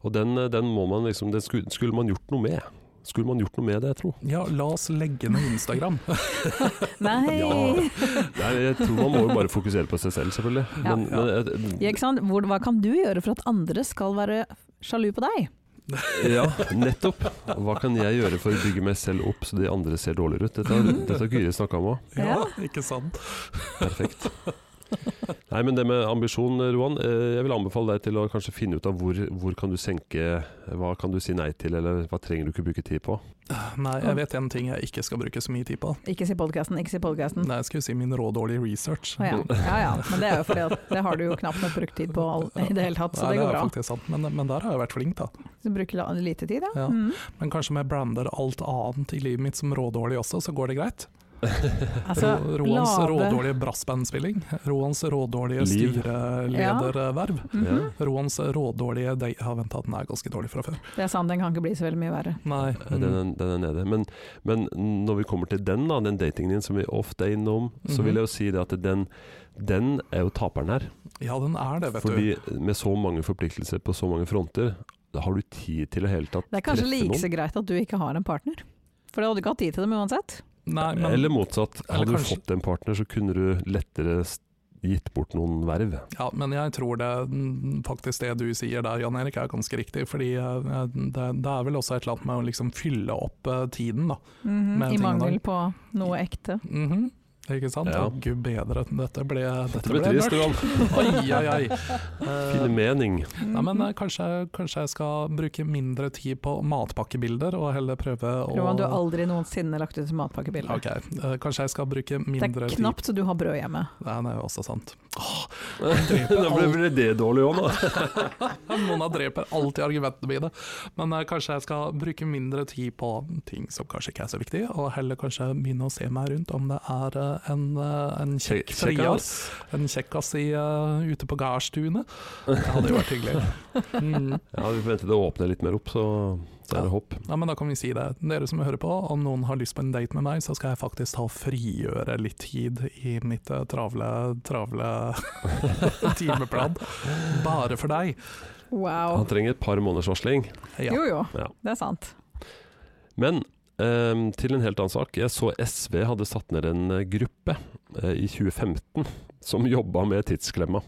[SPEAKER 2] Og den, eh, den må man liksom den skulle, skulle man gjort noe med. Skulle man gjort noe med det, jeg tror.
[SPEAKER 4] Ja, la oss legge ned Instagram.
[SPEAKER 3] Nei!
[SPEAKER 2] Ja. Nei, jeg tror man må jo bare fokusere på seg selv, selvfølgelig.
[SPEAKER 3] Ja.
[SPEAKER 2] Men, eh, men
[SPEAKER 3] Ja, ikke sant? Hvor, hva kan du gjøre for at andre skal være sjalu på deg?
[SPEAKER 2] Ja, nettopp. Hva kan jeg gjøre for å bygge meg selv opp så de andre ser dårligere ut? Dette har- dette har Gyri snakka om òg.
[SPEAKER 4] Ja,
[SPEAKER 3] Ja.
[SPEAKER 4] ikke sant?
[SPEAKER 2] Perfekt. Nei, men det med ambisjon, Roan. eh, Jeg vil anbefale deg til å kanskje finne ut av hvor, hvor kan du senke Hva kan du si nei til, eller hva trenger du ikke bruke tid på?
[SPEAKER 4] Nei, jeg vet en ting jeg ikke skal bruke så mye tid på.
[SPEAKER 3] Ikke si podkasten, ikke si podkasten.
[SPEAKER 4] Nei, jeg skulle si min rådårlige research.
[SPEAKER 3] Å ja. ja ja, men det er jo fordi at det har du jo knapt nok brukt tid på all, i det hele tatt, så
[SPEAKER 4] Nei,
[SPEAKER 3] det går
[SPEAKER 4] er
[SPEAKER 3] bra.
[SPEAKER 4] faktisk sant, men, men der har jeg vært flink, da.
[SPEAKER 3] Så du bruker la- lite tid, ja.
[SPEAKER 4] Ja.
[SPEAKER 3] Mm.
[SPEAKER 4] Men kanskje om jeg brander alt annet i livet mitt som rådårlig også, så går det greit.
[SPEAKER 3] Altså,
[SPEAKER 4] Ro- Roans
[SPEAKER 3] lave-
[SPEAKER 4] rådårlige brassbandspilling, Roans rådårlige
[SPEAKER 2] Liv.
[SPEAKER 4] styrelederverv,
[SPEAKER 3] Mhm.
[SPEAKER 4] Roans rådårlige de- Ja, vent, da, den er ganske dårlig fra før.
[SPEAKER 3] Det er sant, den kan ikke bli så veldig mye verre.
[SPEAKER 4] Nei. mm,
[SPEAKER 2] Eh, Den, er- den er nede. Men, men når vi kommer til den, da, den datingen din som vi ofte er innom, så
[SPEAKER 4] Mhm.
[SPEAKER 2] vil jeg jo si det at den, den er jo taperen her.
[SPEAKER 4] Ja, den er det, vet du.
[SPEAKER 2] Fordi med så mange forpliktelser på så mange fronter, da har du tid til å hele tatt
[SPEAKER 3] Det er kanskje
[SPEAKER 2] treffe
[SPEAKER 3] like
[SPEAKER 2] noen.
[SPEAKER 3] så greit at du ikke har en partner. For du hadde ikke hatt tid til dem uansett.
[SPEAKER 4] Nei,
[SPEAKER 2] Eller
[SPEAKER 4] men,
[SPEAKER 2] motsatt.
[SPEAKER 4] Eller
[SPEAKER 2] Hadde du
[SPEAKER 4] kanskje-
[SPEAKER 2] fått en partner, så kunne du lettere s- gitt bort noen verv.
[SPEAKER 4] ja, men jeg tror det mm, faktisk det du sier der, Jan Erik, er ganske riktig. Fordi eh, det, det er vel også et eller annet med å liksom fylle opp eh, tiden, da.
[SPEAKER 3] Mhm,
[SPEAKER 4] Men
[SPEAKER 3] I
[SPEAKER 4] jeg tenker
[SPEAKER 3] mangel
[SPEAKER 4] nok-
[SPEAKER 3] på noe ekte.
[SPEAKER 4] Mhm. Ikke sant?
[SPEAKER 2] Ja.
[SPEAKER 4] Å, Gud bedre, dette ble, dette
[SPEAKER 2] Det ble
[SPEAKER 4] ble
[SPEAKER 2] trist,
[SPEAKER 4] mørkt.
[SPEAKER 2] Johan.
[SPEAKER 4] Ai, ai, ai. Eh,
[SPEAKER 2] Finne mening.
[SPEAKER 3] Mhm.
[SPEAKER 4] Nei, men eh, kanskje, kanskje jeg skal bruke mindre tid på matpakkebilder, og heller prøve å
[SPEAKER 3] Roman, du har aldri noensinne lagt ut et matpakkebilde.
[SPEAKER 4] Ok, eh, kanskje jeg skal bruke
[SPEAKER 3] Det
[SPEAKER 4] mindre
[SPEAKER 3] er
[SPEAKER 4] tid
[SPEAKER 3] knapt så du har brød hjemme.
[SPEAKER 4] Nei, det er jo også sant.
[SPEAKER 2] da ble ble det dårlig òg, da.
[SPEAKER 4] Mona dreper alltid argumentene mine. Men eh, kanskje jeg skal bruke mindre tid på ting som kanskje ikke er så viktig, og heller kanskje begynne å se meg rundt om det er eh, en, eh, en kjekk frias, en kjekkas i, eh, ute på gardstunet. Det hadde jo vært hyggelig. Mm.
[SPEAKER 2] Ja, vi får vente til det åpner litt mer opp, så, så er det hopp.
[SPEAKER 4] Ja, men da kan vi si det. Dere som hører på, om noen har lyst på en date med meg, så skal jeg faktisk ta og frigjøre litt tid i mitt eh, travle, travle timeplan. Bare for deg.
[SPEAKER 3] Wow.
[SPEAKER 2] Han trenger et par måneders varsling.
[SPEAKER 4] Ja.
[SPEAKER 3] Jo jo,
[SPEAKER 2] Ja.
[SPEAKER 3] det er sant.
[SPEAKER 2] Men ehm, til en helt annen sak. Jeg så SV hadde satt ned en eh, gruppe eh, i 2015 som jobba med tidsklemma.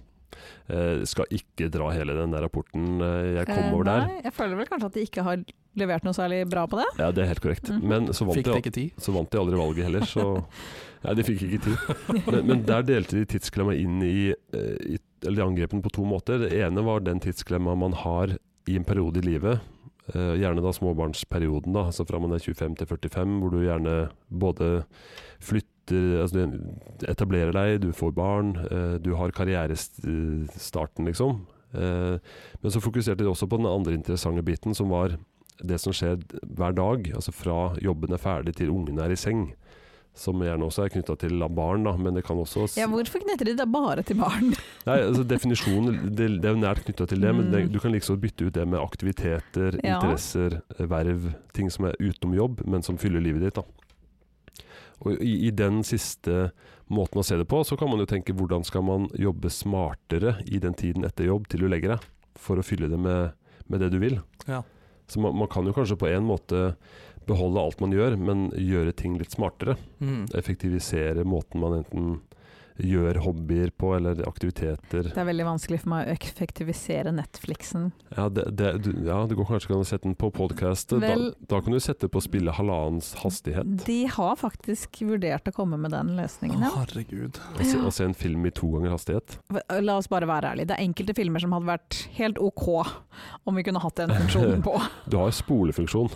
[SPEAKER 2] Eh, skal ikke dra hele den der rapporten eh, jeg kom
[SPEAKER 3] Eh,
[SPEAKER 2] over der.
[SPEAKER 3] Nei, jeg føler vel kanskje at de ikke har levert noe særlig bra på det.
[SPEAKER 2] Ja, det er helt korrekt.
[SPEAKER 3] Mhm.
[SPEAKER 2] Men så vant,
[SPEAKER 4] Fikk det
[SPEAKER 2] jeg,
[SPEAKER 4] ikke tid?
[SPEAKER 2] så vant jeg aldri valget heller, så Nei, de fikk ikke tid. Men, men der delte de tidsklemma inn i, eh, i eller de angrepene på to måter. Det ene var den tidsklemma man har i en periode i livet. eh, gjerne da småbarnsperioden, da, altså fra man er 25 til 45, hvor du gjerne både flytter altså Du etablerer deg, du får barn, eh, du har karrierestarten, liksom. Eh, men så fokuserte de også på den andre interessante biten, som var det som skjer hver dag. Altså fra jobben er ferdig til ungen er i seng. Som gjerne også er knytta til barn, da, men det kan også s-
[SPEAKER 3] Ja, hvorfor knytter de det bare til barn?
[SPEAKER 2] Nei, altså Definisjonen det, det er jo nært knytta til det, men det,
[SPEAKER 3] Mm.
[SPEAKER 2] du kan like så godt bytte ut det med aktiviteter,
[SPEAKER 3] Ja.
[SPEAKER 2] interesser, eh, verv. Ting som er utenom jobb, men som fyller livet ditt. da. Og i, I den siste måten å se det på, så kan man jo tenke hvordan skal man jobbe smartere i den tiden etter jobb til du legger deg, for å fylle det med, med det du vil.
[SPEAKER 4] Ja.
[SPEAKER 2] Så man, man kan jo kanskje på en måte beholde alt man gjør, men gjøre ting litt smartere
[SPEAKER 4] Mm.
[SPEAKER 2] effektivisere måten man enten gjør hobbyer på, eller aktiviteter.
[SPEAKER 3] Det er veldig vanskelig for meg å effektivisere Netflixen.
[SPEAKER 2] Ja, det, det, du, ja, det går kanskje ikke an å sette den på podkast. Da,
[SPEAKER 3] Vel-
[SPEAKER 2] da kan du sette på å spille halvannens hastighet
[SPEAKER 3] De har faktisk vurdert å komme med den
[SPEAKER 4] Å,
[SPEAKER 3] løsningen. Ja.
[SPEAKER 4] herregud.
[SPEAKER 2] og se, og se Altså, en film i to ganger hastighet.
[SPEAKER 3] La oss bare være ærlige, det er enkelte filmer som hadde vært helt ok om vi kunne hatt den funksjonen på.
[SPEAKER 2] Du har spolefunksjon.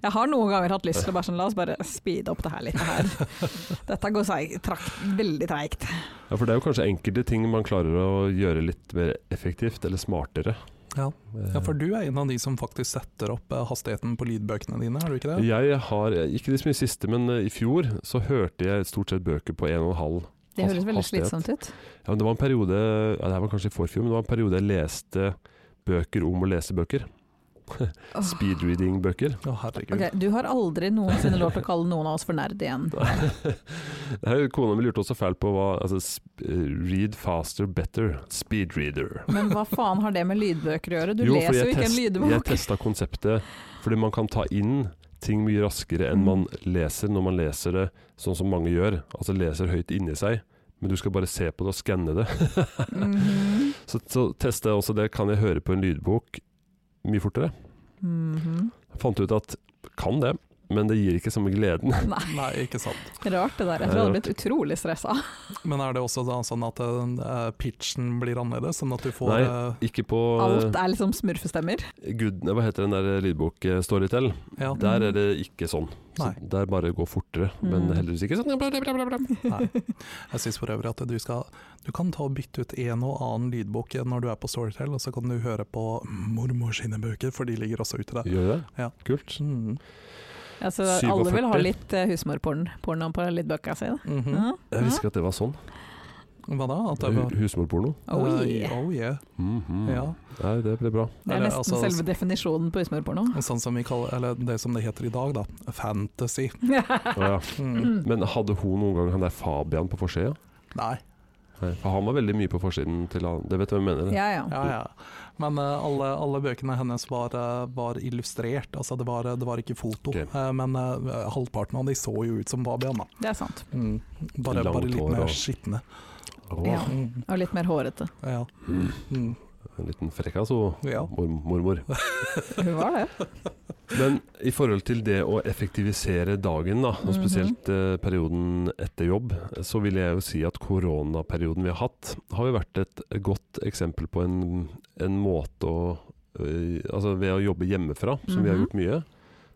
[SPEAKER 3] Jeg har noen ganger hatt lyst til å bare sånn, la oss bare speede opp det her litt. Det her. Dette går seig, trakt, veldig treigt.
[SPEAKER 2] Ja, for det er jo kanskje enkelte ting man klarer å gjøre litt mer effektivt, eller smartere.
[SPEAKER 4] Ja.
[SPEAKER 2] Eh,
[SPEAKER 4] Ja, for du er en av de som faktisk setter opp eh, hastigheten på lydbøkene dine, er du ikke det?
[SPEAKER 2] Jeg har, ikke det så mye siste, men eh, i fjor så hørte jeg stort sett bøker på 1,5.
[SPEAKER 3] Det høres veldig
[SPEAKER 2] Hastighet.
[SPEAKER 3] slitsomt ut.
[SPEAKER 2] Ja, men det var en periode, ja, det her var kanskje i forfjor, men det var en periode jeg leste bøker om å lese bøker. Speedreading-bøker.
[SPEAKER 4] Å, herregud.
[SPEAKER 3] Ok, Du har aldri noensinne lov til å kalle noen av oss for nerd igjen.
[SPEAKER 2] Det her, Kona mi lurte også fælt på hva altså, sp- eh, Read faster, better. Speedreader.
[SPEAKER 3] Men hva faen har det med lydbøker å gjøre? Du
[SPEAKER 2] for
[SPEAKER 3] leser
[SPEAKER 2] jeg
[SPEAKER 3] jo ikke en
[SPEAKER 2] test- Jeg
[SPEAKER 3] lydbok.
[SPEAKER 2] testa konseptet fordi man kan ta inn ting mye raskere
[SPEAKER 3] Mm.
[SPEAKER 2] enn man leser når man leser det sånn som mange gjør. Altså leser høyt inni seg, men du skal bare se på det og skanne det.
[SPEAKER 3] Mhm.
[SPEAKER 2] Så, så testa jeg også det. Kan jeg høre på en lydbok mye fortere?
[SPEAKER 3] Mhm.
[SPEAKER 2] Jeg fant ut at kan det, men det gir ikke samme gleden.
[SPEAKER 4] Nei, ikke sant.
[SPEAKER 3] Rart det der. Jeg tror jeg hadde blitt utrolig stressa.
[SPEAKER 4] Men er det også da sånn at eh, pitchen blir annerledes, sånn at du får
[SPEAKER 2] Nei. Ikke på
[SPEAKER 3] Alt er liksom smurfestemmer.
[SPEAKER 2] eh, Gud, nei, hva heter den der lydbok eh, Storytel?
[SPEAKER 4] eh, ja.
[SPEAKER 2] Der er det ikke sånn. Så
[SPEAKER 4] Nei.
[SPEAKER 2] der bare går fortere, men
[SPEAKER 3] Mm.
[SPEAKER 2] heldigvis ikke sånn.
[SPEAKER 4] Jeg syns for øvrig at du skal Du kan ta og bytte ut en og annen lydbok når du er på Storytel, og så kan du høre på mormor sine bøker, for de ligger også ute der.
[SPEAKER 2] Gjør det?
[SPEAKER 4] Ja.
[SPEAKER 2] Kult.
[SPEAKER 4] Mm.
[SPEAKER 3] Altså, alle vil ha
[SPEAKER 2] 47.
[SPEAKER 3] litt eh, husmorporn porno på lydbøka si. da.
[SPEAKER 4] Mhm.
[SPEAKER 3] Ja.
[SPEAKER 2] Mm. Jeg visste ikke at det var sånn.
[SPEAKER 4] Hva da? At det var
[SPEAKER 2] Hu- Husmorporno.
[SPEAKER 3] Oh,
[SPEAKER 4] Eh,
[SPEAKER 3] yeah.
[SPEAKER 4] oh yeah.
[SPEAKER 2] Mhm.
[SPEAKER 4] Ja.
[SPEAKER 2] Nei, det ble bra.
[SPEAKER 3] Det er
[SPEAKER 4] Eller,
[SPEAKER 3] nesten
[SPEAKER 4] altså,
[SPEAKER 3] selve definisjonen på husmorporno.
[SPEAKER 4] Sånn som vi kaller, eller det som det heter i dag, da. Fantasy.
[SPEAKER 2] Ja, ja.
[SPEAKER 4] Mm.
[SPEAKER 2] Men hadde hun noen gang han der Fabian på forsida?
[SPEAKER 4] Nei.
[SPEAKER 2] Nei, For han var veldig mye på forsiden til han. Det vet du hvem jeg mener?
[SPEAKER 3] Ja, ja.
[SPEAKER 4] Ja, ja. Men eh, alle, alle bøkene hennes var, eh, var illustrert, altså det var, det var ikke foto.
[SPEAKER 2] Ok.
[SPEAKER 4] Eh, men eh, halvparten av de så jo ut som Fabian, da.
[SPEAKER 3] Det er sant.
[SPEAKER 4] Mm. Bare,
[SPEAKER 2] Langt
[SPEAKER 4] bare litt
[SPEAKER 2] hår
[SPEAKER 4] mer
[SPEAKER 2] og-
[SPEAKER 4] skitne.
[SPEAKER 2] Åh,
[SPEAKER 3] Ja.
[SPEAKER 4] Mm.
[SPEAKER 3] Og litt mer hårete.
[SPEAKER 4] Ja.
[SPEAKER 2] Mm.
[SPEAKER 4] Mm.
[SPEAKER 2] En liten frekkas, hun
[SPEAKER 4] Ja.
[SPEAKER 2] mor- mormor.
[SPEAKER 3] Hun var det.
[SPEAKER 2] Men i forhold til det å effektivisere dagen, da,
[SPEAKER 3] Mhm.
[SPEAKER 2] og spesielt eh, perioden etter jobb, så vil jeg jo si at koronaperioden vi har hatt, har jo vært et godt eksempel på en, en måte å eh, Altså ved å jobbe hjemmefra, som vi har
[SPEAKER 3] Mhm.
[SPEAKER 2] gjort mye,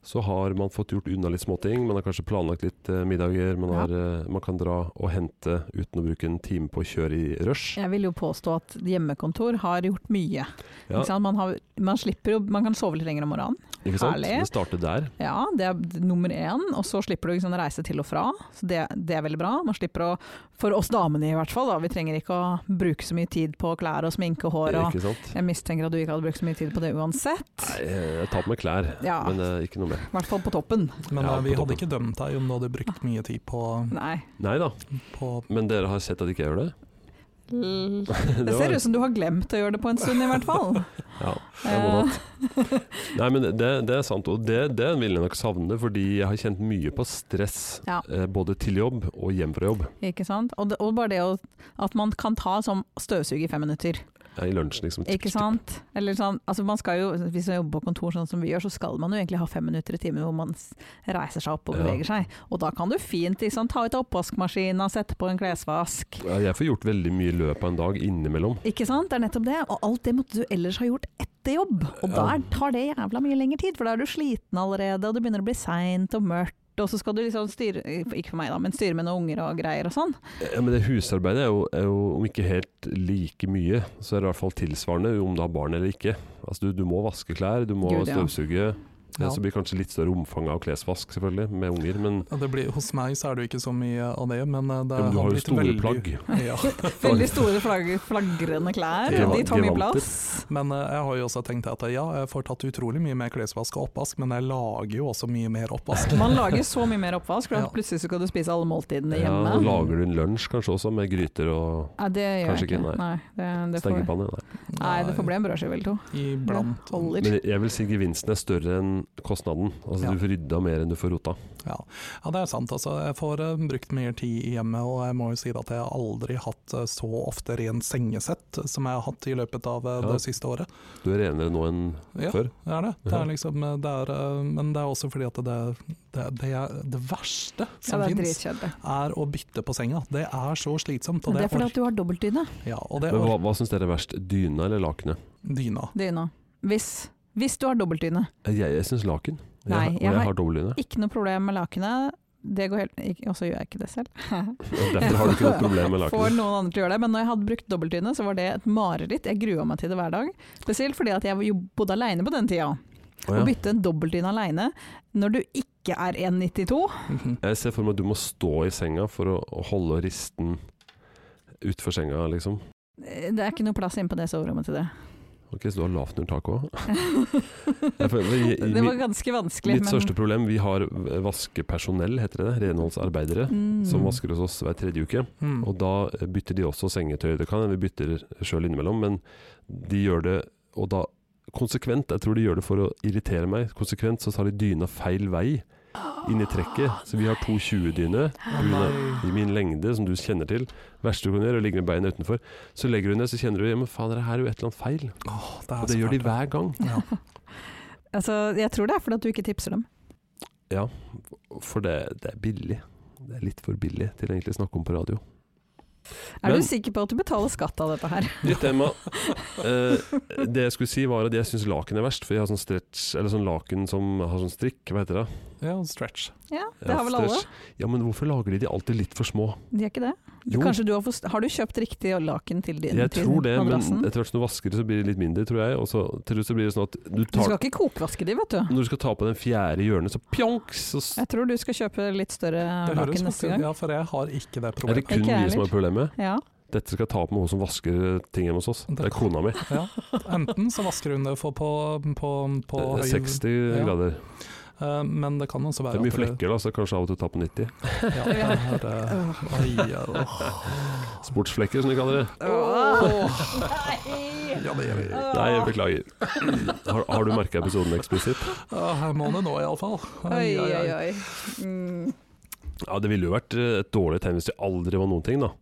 [SPEAKER 2] så har man fått gjort unna litt småting. Man har kanskje planlagt litt eh, middager. Man,
[SPEAKER 3] Ja.
[SPEAKER 2] har, eh, man kan dra og hente uten å bruke en time på å kjøre i rush.
[SPEAKER 3] Jeg vil jo påstå at hjemmekontor har gjort mye.
[SPEAKER 2] Ja.
[SPEAKER 3] Ikke sant? Man, har, man slipper jo Man kan sove litt lenger om morgenen.
[SPEAKER 2] Ikke sant?
[SPEAKER 3] Herlig.
[SPEAKER 2] Det starter der.
[SPEAKER 3] Ja, det er d- nummer én. Og så slipper du ikke sant, reise til og fra. Så det, det er veldig bra. Man slipper å For oss damene i hvert fall, da. Vi trenger ikke å bruke så mye tid på klær og sminke og hår og
[SPEAKER 2] Ikke sant?
[SPEAKER 3] Jeg mistenker at du ikke hadde brukt så mye tid på det uansett.
[SPEAKER 2] Nei, eh, jeg tar på meg klær,
[SPEAKER 3] Ja.
[SPEAKER 2] men eh, ikke noe mer.
[SPEAKER 3] I hvert fall på toppen.
[SPEAKER 4] Men
[SPEAKER 2] Ja,
[SPEAKER 4] eh,
[SPEAKER 2] på
[SPEAKER 4] vi hadde
[SPEAKER 2] toppen.
[SPEAKER 4] ikke dømt deg om du hadde brukt mye tid på,
[SPEAKER 3] Nei.
[SPEAKER 2] Nei da,
[SPEAKER 4] på
[SPEAKER 2] men dere har sett at ikke jeg gjør det?
[SPEAKER 3] L-
[SPEAKER 2] Det
[SPEAKER 3] Mm.
[SPEAKER 2] var-
[SPEAKER 3] Det ser ut som du har glemt å gjøre det på en stund, i hvert fall.
[SPEAKER 2] Ja, jeg må
[SPEAKER 3] Eh.
[SPEAKER 2] da. Nei, men det, det er sant, og det, det vil jeg nok savne, fordi jeg har kjent mye på stress.
[SPEAKER 3] Ja.
[SPEAKER 2] eh, Både til jobb og hjem fra jobb.
[SPEAKER 3] Ikke sant? Og, det, og bare det å, at man kan ta som støvsug i fem minutter.
[SPEAKER 2] Ja, I lunsjen, liksom.
[SPEAKER 3] Ikke sant? Eller sånn, altså man skal jo, hvis man jobber på kontor sånn som vi gjør, så skal man jo egentlig ha fem minutter i timen hvor man s- reiser seg opp og
[SPEAKER 2] Ja.
[SPEAKER 3] beveger seg. Og da kan du fint liksom, ta ut oppvaskmaskina, sette på en klesvask.
[SPEAKER 2] Ja, jeg får gjort veldig mye i løpet av en dag innimellom.
[SPEAKER 3] Ikke sant? Det er nettopp det. Og alt det måtte du ellers ha gjort etter jobb. Og
[SPEAKER 2] Ja.
[SPEAKER 3] der tar det jævla mye lengre tid, for da er du sliten allerede, og det begynner å bli seint og mørkt. Og så skal du liksom styre, ikke for meg da, men styre med noen unger og greier og sånn.
[SPEAKER 2] Ja, Eh, men det husarbeidet er jo, er jo om ikke helt like mye, så er det i hvert fall tilsvarende om du har barn eller ikke. Altså, du, du må vaske klær, du må
[SPEAKER 3] Gud, ja.
[SPEAKER 2] støvsuge.
[SPEAKER 4] Ja.
[SPEAKER 2] Ja. Så blir det kanskje litt større omfang av klesvask, selvfølgelig, med unger. Men,
[SPEAKER 4] ja, det blir, Hos meg så er det jo ikke så mye av det, men eh, det
[SPEAKER 2] ja,
[SPEAKER 4] har
[SPEAKER 2] men du har jo
[SPEAKER 4] blitt
[SPEAKER 2] store
[SPEAKER 4] veldig-
[SPEAKER 2] plagg.
[SPEAKER 4] Ja.
[SPEAKER 3] Veldig store flagg, flagrende klær,
[SPEAKER 2] Gra-
[SPEAKER 3] de tar mye
[SPEAKER 2] gevanter.
[SPEAKER 3] plass.
[SPEAKER 4] Men eh, jeg har jo også tenkt at ja, jeg får tatt utrolig mye mer klesvask og oppvask, men jeg lager jo også mye mer oppvask.
[SPEAKER 3] Man lager så mye mer oppvask, for
[SPEAKER 4] Ja.
[SPEAKER 3] at plutselig så skal du spise alle måltidene
[SPEAKER 2] Ja,
[SPEAKER 3] hjemme.
[SPEAKER 2] lager du en lunsj kanskje også, med gryter og
[SPEAKER 3] Nei, det gjør
[SPEAKER 2] Kanskje
[SPEAKER 3] jeg ikke.
[SPEAKER 2] ikke,
[SPEAKER 3] Nei, det, det får...
[SPEAKER 2] stekepanne? Nei.
[SPEAKER 3] Nei, det får bli en brødskive eller to.
[SPEAKER 4] Iblant.
[SPEAKER 3] Det holder.
[SPEAKER 2] Men jeg vil si gevinsten er større enn kostnaden. Altså
[SPEAKER 4] Ja.
[SPEAKER 2] Du får rydda mer enn du får rota.
[SPEAKER 4] Ja, det er sant. Altså, jeg får eh, brukt mer tid i hjemmet, og jeg må jo si at jeg har aldri hatt eh, så ofte rent sengesett som jeg har hatt i løpet av eh,
[SPEAKER 2] Ja.
[SPEAKER 4] det siste året.
[SPEAKER 2] Du er renere nå enn
[SPEAKER 4] Ja,
[SPEAKER 2] før.
[SPEAKER 4] det er det. det,
[SPEAKER 2] Ja.
[SPEAKER 4] er liksom, eh, det er, eh, men det er også fordi at det, det, det, er det verste
[SPEAKER 3] Ja,
[SPEAKER 4] som
[SPEAKER 3] det er
[SPEAKER 4] finnes
[SPEAKER 3] dritkjedelig.
[SPEAKER 4] er å bytte på senga. Det er så slitsomt. Og
[SPEAKER 3] Men
[SPEAKER 4] det,
[SPEAKER 3] det er fordi at du har dobbeltdyne.
[SPEAKER 4] ork- ja, og det
[SPEAKER 2] Men
[SPEAKER 4] orker
[SPEAKER 2] hva, hva syns dere er verst, dyna eller lakenet?
[SPEAKER 4] dyna.
[SPEAKER 3] Dyna. Hvis, hvis du har dobbeltdyne.
[SPEAKER 2] Jeg, jeg syns laken. Jeg,
[SPEAKER 3] Nei,
[SPEAKER 2] og
[SPEAKER 3] jeg
[SPEAKER 2] jeg
[SPEAKER 3] har-
[SPEAKER 2] har dobbeltdyne.
[SPEAKER 3] Ikke noe problem med lakenet. Det går helt ikke- Og så gjør jeg ikke det selv.
[SPEAKER 2] Derfor har du ikke noe problem med
[SPEAKER 3] Får
[SPEAKER 2] lakenet.
[SPEAKER 3] noen andre til å gjøre det. Men når jeg hadde brukt dobbeltdyne, så var det et mareritt. Jeg grua meg til det hver dag. Spesielt fordi at jeg jo bodde aleine på den tida.
[SPEAKER 2] Å,
[SPEAKER 3] Å
[SPEAKER 2] ja.
[SPEAKER 3] bytte en dobbeltdyne aleine når du ikke er 1,92
[SPEAKER 4] Mhm.
[SPEAKER 2] Jeg ser for meg at du må stå i senga for å, å holde risten utfor senga, liksom.
[SPEAKER 3] Det er ikke noe plass inne på det soverommet til det.
[SPEAKER 2] Ok, så du har lavt nulltak òg? Mitt
[SPEAKER 3] det var ganske vanskelig.
[SPEAKER 2] mitt største problem Vi har vaskepersonell, heter det. det, Renholdsarbeidere.
[SPEAKER 3] Mm.
[SPEAKER 2] Som vasker hos oss hver tredje uke.
[SPEAKER 4] Mm.
[SPEAKER 2] Og da eh, bytter de også sengetøy. Det kan hende vi bytter sjøl innimellom, men de gjør det og da konsekvent. Jeg tror de gjør det for å irritere meg. Konsekvent så tar de dyna feil vei inn i trekket. Så vi har to 20-dyne. Hun er i min lengde, som du kjenner til. Verste du kan gjøre, er å ligge med beina utenfor. Så legger hun ned, så kjenner du ja, men faen, det her er jo et eller annet feil.
[SPEAKER 4] Åh, det er
[SPEAKER 2] Og det gjør de
[SPEAKER 4] svært.
[SPEAKER 2] hver gang.
[SPEAKER 4] Ja.
[SPEAKER 3] Altså, jeg tror det er fordi at du ikke tipser dem.
[SPEAKER 2] Ja, for det, det er billig. Det er litt for billig til egentlig å snakke om på radio.
[SPEAKER 3] Er
[SPEAKER 2] Men-
[SPEAKER 3] du sikker på at du betaler skatt av dette her?
[SPEAKER 2] Nytt tema. Eh, det jeg skulle si var at jeg syns laken er verst, for jeg har sånn stretch, eller sånn laken som har sånn strikk, hva heter det?
[SPEAKER 4] ja, stretch.
[SPEAKER 3] Ja, det
[SPEAKER 2] Ja,
[SPEAKER 3] har vel alle?
[SPEAKER 2] stretch. Ja, men hvorfor lager de de alltid litt for små?
[SPEAKER 3] De er ikke det?
[SPEAKER 2] Jo.
[SPEAKER 3] Kanskje du har, fått- har du kjøpt riktig laken til din
[SPEAKER 2] Jeg
[SPEAKER 3] til
[SPEAKER 2] tror det, men
[SPEAKER 3] madrassen?
[SPEAKER 2] etter hvert som du vasker det, så blir det litt mindre, tror jeg. Og så til slutt så blir det sånn at du
[SPEAKER 3] Du
[SPEAKER 2] tar
[SPEAKER 3] skal ikke kokvaske de, vet du.
[SPEAKER 2] Når du skal ta på den fjerde hjørnet, så pjonk! Så s-
[SPEAKER 3] Jeg tror du skal kjøpe litt større
[SPEAKER 4] Det høres
[SPEAKER 3] laken neste
[SPEAKER 4] faktisk
[SPEAKER 3] gang.
[SPEAKER 4] Ja, for jeg har ikke det
[SPEAKER 2] er det
[SPEAKER 4] problemet.
[SPEAKER 2] kun vi
[SPEAKER 3] Ikke jeg
[SPEAKER 2] som
[SPEAKER 3] heller.
[SPEAKER 2] har problemet.
[SPEAKER 3] Ja.
[SPEAKER 2] Dette skal jeg ta opp med hun som vasker ting hjemme hos oss. Det er kona mi.
[SPEAKER 4] Ja. Enten så vasker hun det for på, på, på
[SPEAKER 2] Eh,
[SPEAKER 4] høy
[SPEAKER 2] 60
[SPEAKER 4] ja.
[SPEAKER 2] grader.
[SPEAKER 4] Eh, men det kan også
[SPEAKER 2] Det
[SPEAKER 4] være
[SPEAKER 2] er mye
[SPEAKER 4] at
[SPEAKER 2] flekker, da, så kanskje av og til ta på 90.
[SPEAKER 4] Ja, det er, eh, oi, ja, åh.
[SPEAKER 2] Sportsflekker, som de kaller det.
[SPEAKER 3] Nei!
[SPEAKER 4] Ja, det gjør vi.
[SPEAKER 2] Nei, jeg beklager. Har, har du merka episoden eksplisitt?
[SPEAKER 4] Ja, Her må det nå, iallfall.
[SPEAKER 3] Oi, oi, oi. Mm.
[SPEAKER 2] Ja, det ville jo vært eh, et dårlig tegn hvis det aldri var noen ting, da.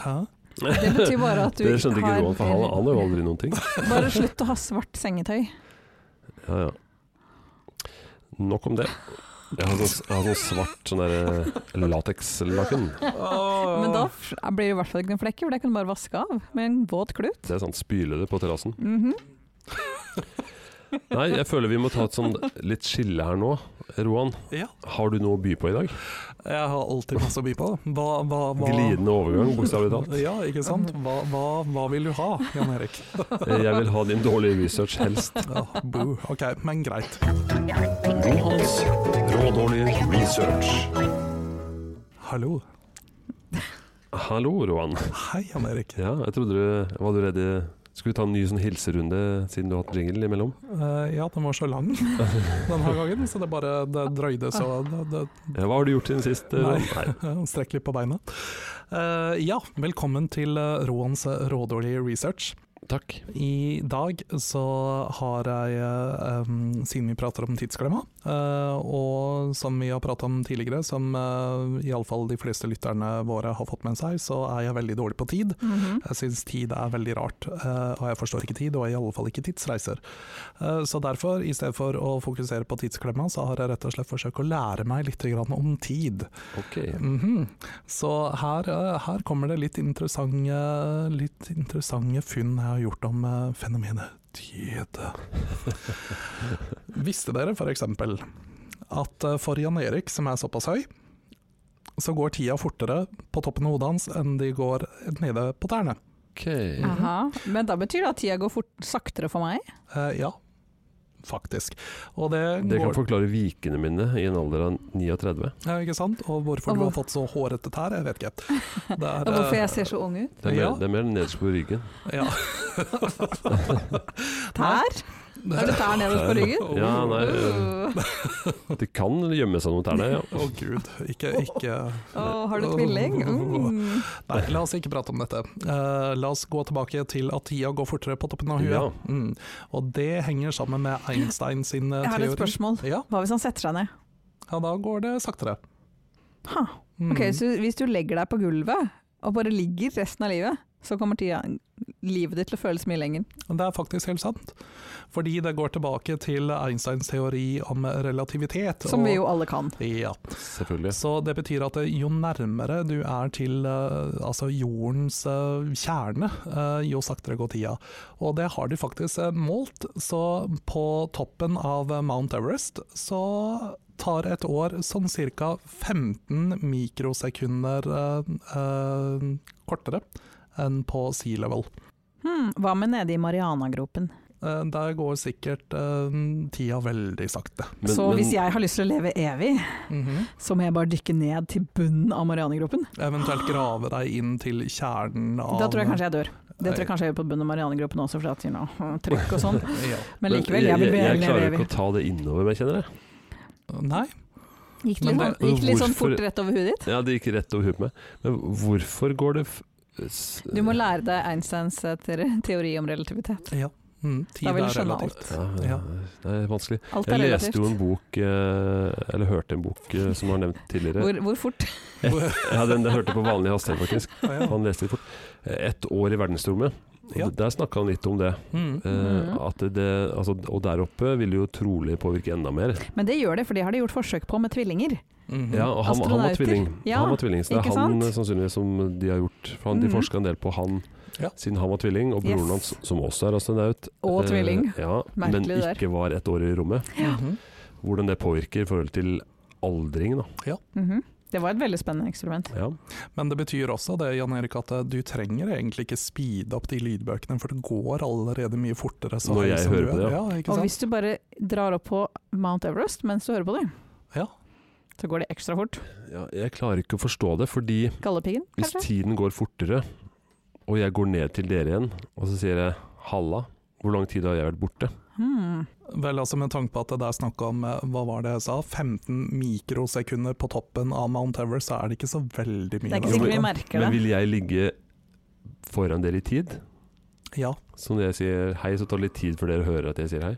[SPEAKER 4] Hæ?
[SPEAKER 3] Det betyr bare at du
[SPEAKER 2] Det skjønte ikke
[SPEAKER 3] har-
[SPEAKER 2] Roan, for han han har jo aldri noen ting.
[SPEAKER 3] Bare slutt å ha svart sengetøy.
[SPEAKER 2] Ja, ja. Nok om det. Jeg har sånn, jeg har sånn svart sånn der latekslaken.
[SPEAKER 3] Men da f- blir det i hvert fall ikke noen flekker, for det kan du bare vaske av med en våt klut.
[SPEAKER 2] Det er sånn spyle det på terrassen.
[SPEAKER 3] Mhm.
[SPEAKER 2] Nei, jeg føler vi må ta et sånn litt skille her nå. Roan,
[SPEAKER 4] Ja,
[SPEAKER 2] har du noe å by på i dag?
[SPEAKER 4] jeg har alltid masse å by på. Hva, hva, hva
[SPEAKER 2] Glidende overgang, bokstavelig talt.
[SPEAKER 4] Ja, ikke sant. Hva, hva, hva vil du ha, Jan Erik?
[SPEAKER 2] Eh, Jeg vil ha din dårlige research helst.
[SPEAKER 4] Ja, boo. Ok, men greit.
[SPEAKER 1] Johans rådårlige research.
[SPEAKER 4] Hallo.
[SPEAKER 2] Hallo, Roan.
[SPEAKER 4] Hei, Jan Erik.
[SPEAKER 2] Ja, jeg trodde du Var du redd i- Skulle vi ta en ny sånn hilserunde, siden du har hatt jingle imellom?
[SPEAKER 4] Eh, ja, den var så lang denne gangen, så det bare det drøyde så det, det,
[SPEAKER 2] Ja, hva har du gjort siden sist? eh, Roan? Nei.
[SPEAKER 4] Ja, Strekk litt på beina. Eh, ja, velkommen til eh, Roans eh, rådårlige research.
[SPEAKER 2] Takk.
[SPEAKER 4] I dag så har jeg, eh, em, siden vi prater om tidsklemma, eh, og som vi har pratet om tidligere, som eh, i alle iallfall de fleste lytterne våre har fått med seg, så er jeg veldig dårlig på tid.
[SPEAKER 3] Mhm.
[SPEAKER 4] Jeg syns tid er veldig rart, eh, og jeg forstår ikke tid, og i alle fall ikke tidsreiser. Eh, Så derfor, i stedet for å fokusere på tidsklemma, så har jeg rett og slett forsøkt å lære meg litt grann om tid.
[SPEAKER 2] Ok.
[SPEAKER 4] Mhm. Så her, eh, her kommer det litt interessante, litt interessante funn jeg har gjort om eh, fenomenet diete. Visste dere f.eks. at eh, for Jan Erik, som er såpass høy, så går tida fortere på toppen av hodet hans enn de går nede på tærne?
[SPEAKER 2] ok.
[SPEAKER 3] Aha. Men da betyr det at tida går fort, saktere for meg?
[SPEAKER 4] Eh, ja, faktisk. Og det,
[SPEAKER 2] Det kan
[SPEAKER 4] går
[SPEAKER 2] forklare vikene mine i en alder av 39.
[SPEAKER 4] ja, Ikke sant? Og hvorfor
[SPEAKER 3] Og
[SPEAKER 4] du har
[SPEAKER 3] hvor-
[SPEAKER 4] fått så hårete tær, jeg vet ikke. Det er,
[SPEAKER 3] Og hvorfor
[SPEAKER 4] eh,
[SPEAKER 3] jeg ser så ung ut?
[SPEAKER 2] Det er
[SPEAKER 4] Ja.
[SPEAKER 2] mer, det er mer nederst på ryggen.
[SPEAKER 4] ja.
[SPEAKER 3] Tær? Er det tær nederst på ryggen?
[SPEAKER 2] Ja, nei, eh,
[SPEAKER 3] Uh.
[SPEAKER 2] Det kan gjemme seg noe der, det. Ja.
[SPEAKER 4] Å gud, ikke, ikke
[SPEAKER 3] Å, har du tvilling? Mm.
[SPEAKER 4] Nei, la oss ikke prate om dette. Eh, la oss gå tilbake til at tida går fortere på toppen av huet.
[SPEAKER 2] Ja.
[SPEAKER 4] Mm. Og det henger sammen med Einstein sin eh,
[SPEAKER 3] Jeg har
[SPEAKER 4] teori.
[SPEAKER 3] et spørsmål.
[SPEAKER 4] Ja,
[SPEAKER 3] Hva hvis han setter seg ned?
[SPEAKER 4] ja, da går det saktere.
[SPEAKER 3] Ha.
[SPEAKER 4] Mm.
[SPEAKER 3] Ok, så Hvis du legger deg på gulvet og bare ligger resten av livet, så kommer tida, livet ditt til å føles mye lenger.
[SPEAKER 4] Det er faktisk helt sant. Fordi det går tilbake til Einsteins teori om relativitet.
[SPEAKER 3] Som vi jo alle kan.
[SPEAKER 4] Ja.
[SPEAKER 2] Selvfølgelig.
[SPEAKER 4] Så det betyr at eh, jo nærmere du er til eh, altså jordens eh, kjerne, eh, jo saktere går tida. Og det har de faktisk eh, målt, så på toppen av eh, Mount Everest så tar et år sånn ca. 15 mikrosekunder eh, eh, kortere enn på sea level.
[SPEAKER 3] Hmm, hva med nede i Marianagropen?
[SPEAKER 4] Eh, der går sikkert eh, tida veldig sakte.
[SPEAKER 2] Men-
[SPEAKER 3] så
[SPEAKER 2] men-
[SPEAKER 3] hvis jeg har lyst til å leve evig,
[SPEAKER 4] Mhm.
[SPEAKER 3] så må jeg bare dykke ned til bunnen av Marianegropen?
[SPEAKER 4] Eventuelt grave deg inn til kjernen
[SPEAKER 2] Ah,
[SPEAKER 4] av
[SPEAKER 3] Ah. Da tror jeg kanskje jeg dør. Det tror jeg kanskje jeg gjør på bunnen av Marianegropen også, for at, you know, trykk og sånn.
[SPEAKER 4] Ja.
[SPEAKER 3] Men likevel, jeg vil
[SPEAKER 2] jeg, jeg
[SPEAKER 3] leve
[SPEAKER 2] klarer
[SPEAKER 3] evig.
[SPEAKER 2] ikke å ta det innover meg, kjenner jeg.
[SPEAKER 4] Nei,
[SPEAKER 3] Gikk
[SPEAKER 4] Men
[SPEAKER 3] litt,
[SPEAKER 4] det-
[SPEAKER 3] sånn, gikk litt sånn
[SPEAKER 2] hvorfor-
[SPEAKER 3] fort rett over huet ditt?
[SPEAKER 2] Ja, Det gikk rett over huet på meg. Men hvorfor går det f s-
[SPEAKER 3] Du må lære deg Einsteins eh, te- teori om relativitet.
[SPEAKER 4] Ja. Mm, tid
[SPEAKER 3] Da vil
[SPEAKER 4] er
[SPEAKER 3] du skjønne
[SPEAKER 4] relativt.
[SPEAKER 3] alt.
[SPEAKER 2] ja,
[SPEAKER 4] Ja.
[SPEAKER 2] Det er vanskelig.
[SPEAKER 3] Alt
[SPEAKER 2] Jeg
[SPEAKER 3] er
[SPEAKER 2] leste jo en
[SPEAKER 3] relativt.
[SPEAKER 2] bok, eh, eller hørte en bok, eh, som var nevnt tidligere.
[SPEAKER 3] Hvor, hvor fort?
[SPEAKER 2] Ja, den jeg hørte på vanlig hastighet, faktisk.
[SPEAKER 4] Ja, ja.
[SPEAKER 2] Han leste litt fort. Eh, Ett år i verdensrommet. Og
[SPEAKER 4] Ja.
[SPEAKER 2] d- Der snakka han litt om det.
[SPEAKER 4] Mm.
[SPEAKER 2] Eh,
[SPEAKER 3] Mhm.
[SPEAKER 2] at det altså, og der oppe vil jo trolig påvirke enda mer.
[SPEAKER 3] Men det gjør det, for det har de gjort forsøk på med tvillinger.
[SPEAKER 4] Mhm.
[SPEAKER 2] Ja, og han, han var
[SPEAKER 3] Mm. Astronauter.
[SPEAKER 2] tvilling.
[SPEAKER 3] Ja,
[SPEAKER 2] han var tvilling så det
[SPEAKER 3] ikke
[SPEAKER 2] er han
[SPEAKER 3] sant?
[SPEAKER 2] eh, sannsynligvis som de har gjort. For han, De
[SPEAKER 3] Mhm.
[SPEAKER 2] forska en del på han
[SPEAKER 4] Ja.
[SPEAKER 2] siden han var tvilling, og broren
[SPEAKER 3] Yes.
[SPEAKER 2] hans, som også er astronaut.
[SPEAKER 3] Og
[SPEAKER 2] eh,
[SPEAKER 3] tvilling.
[SPEAKER 2] Ja, men
[SPEAKER 3] Merkelig der.
[SPEAKER 2] ikke var ett år i rommet.
[SPEAKER 4] Mhm.
[SPEAKER 2] Hvordan det påvirker i forhold til aldring, da.
[SPEAKER 3] Mhm. Det var et veldig spennende eksperiment.
[SPEAKER 2] Ja.
[SPEAKER 4] Men det betyr også det, Jan Erik, at eh, du trenger egentlig ikke speede opp de lydbøkene, for det går allerede mye fortere. Så
[SPEAKER 2] Når
[SPEAKER 4] høy
[SPEAKER 2] jeg
[SPEAKER 4] som
[SPEAKER 2] hører
[SPEAKER 4] du
[SPEAKER 2] på
[SPEAKER 4] er.
[SPEAKER 2] det,
[SPEAKER 4] ja. ikke
[SPEAKER 3] Og
[SPEAKER 4] sant?
[SPEAKER 3] hvis du bare drar opp på Mount Everest mens du hører på det,
[SPEAKER 4] Ja.
[SPEAKER 3] så går det ekstra fort.
[SPEAKER 2] Ja, jeg klarer ikke å forstå det, fordi
[SPEAKER 3] Gallepiggen,
[SPEAKER 2] Hvis
[SPEAKER 3] kanskje?
[SPEAKER 2] tiden går fortere, og jeg går ned til dere igjen, og så sier jeg 'halla', hvor lang tid har jeg vært borte?
[SPEAKER 3] Hmm.
[SPEAKER 4] Vel, altså Med tanke på at det der snakka om eh, hva var det jeg sa, 15 mikrosekunder på toppen av Mount Everest, så er det ikke så veldig mye. Altså,
[SPEAKER 3] Det er ikke
[SPEAKER 4] der.
[SPEAKER 3] sikkert vi merker
[SPEAKER 2] Men
[SPEAKER 3] det.
[SPEAKER 2] vil jeg ligge foran dere i tid?
[SPEAKER 4] Ja.
[SPEAKER 2] Så når jeg sier hei, så tar det litt tid før dere hører at jeg sier hei?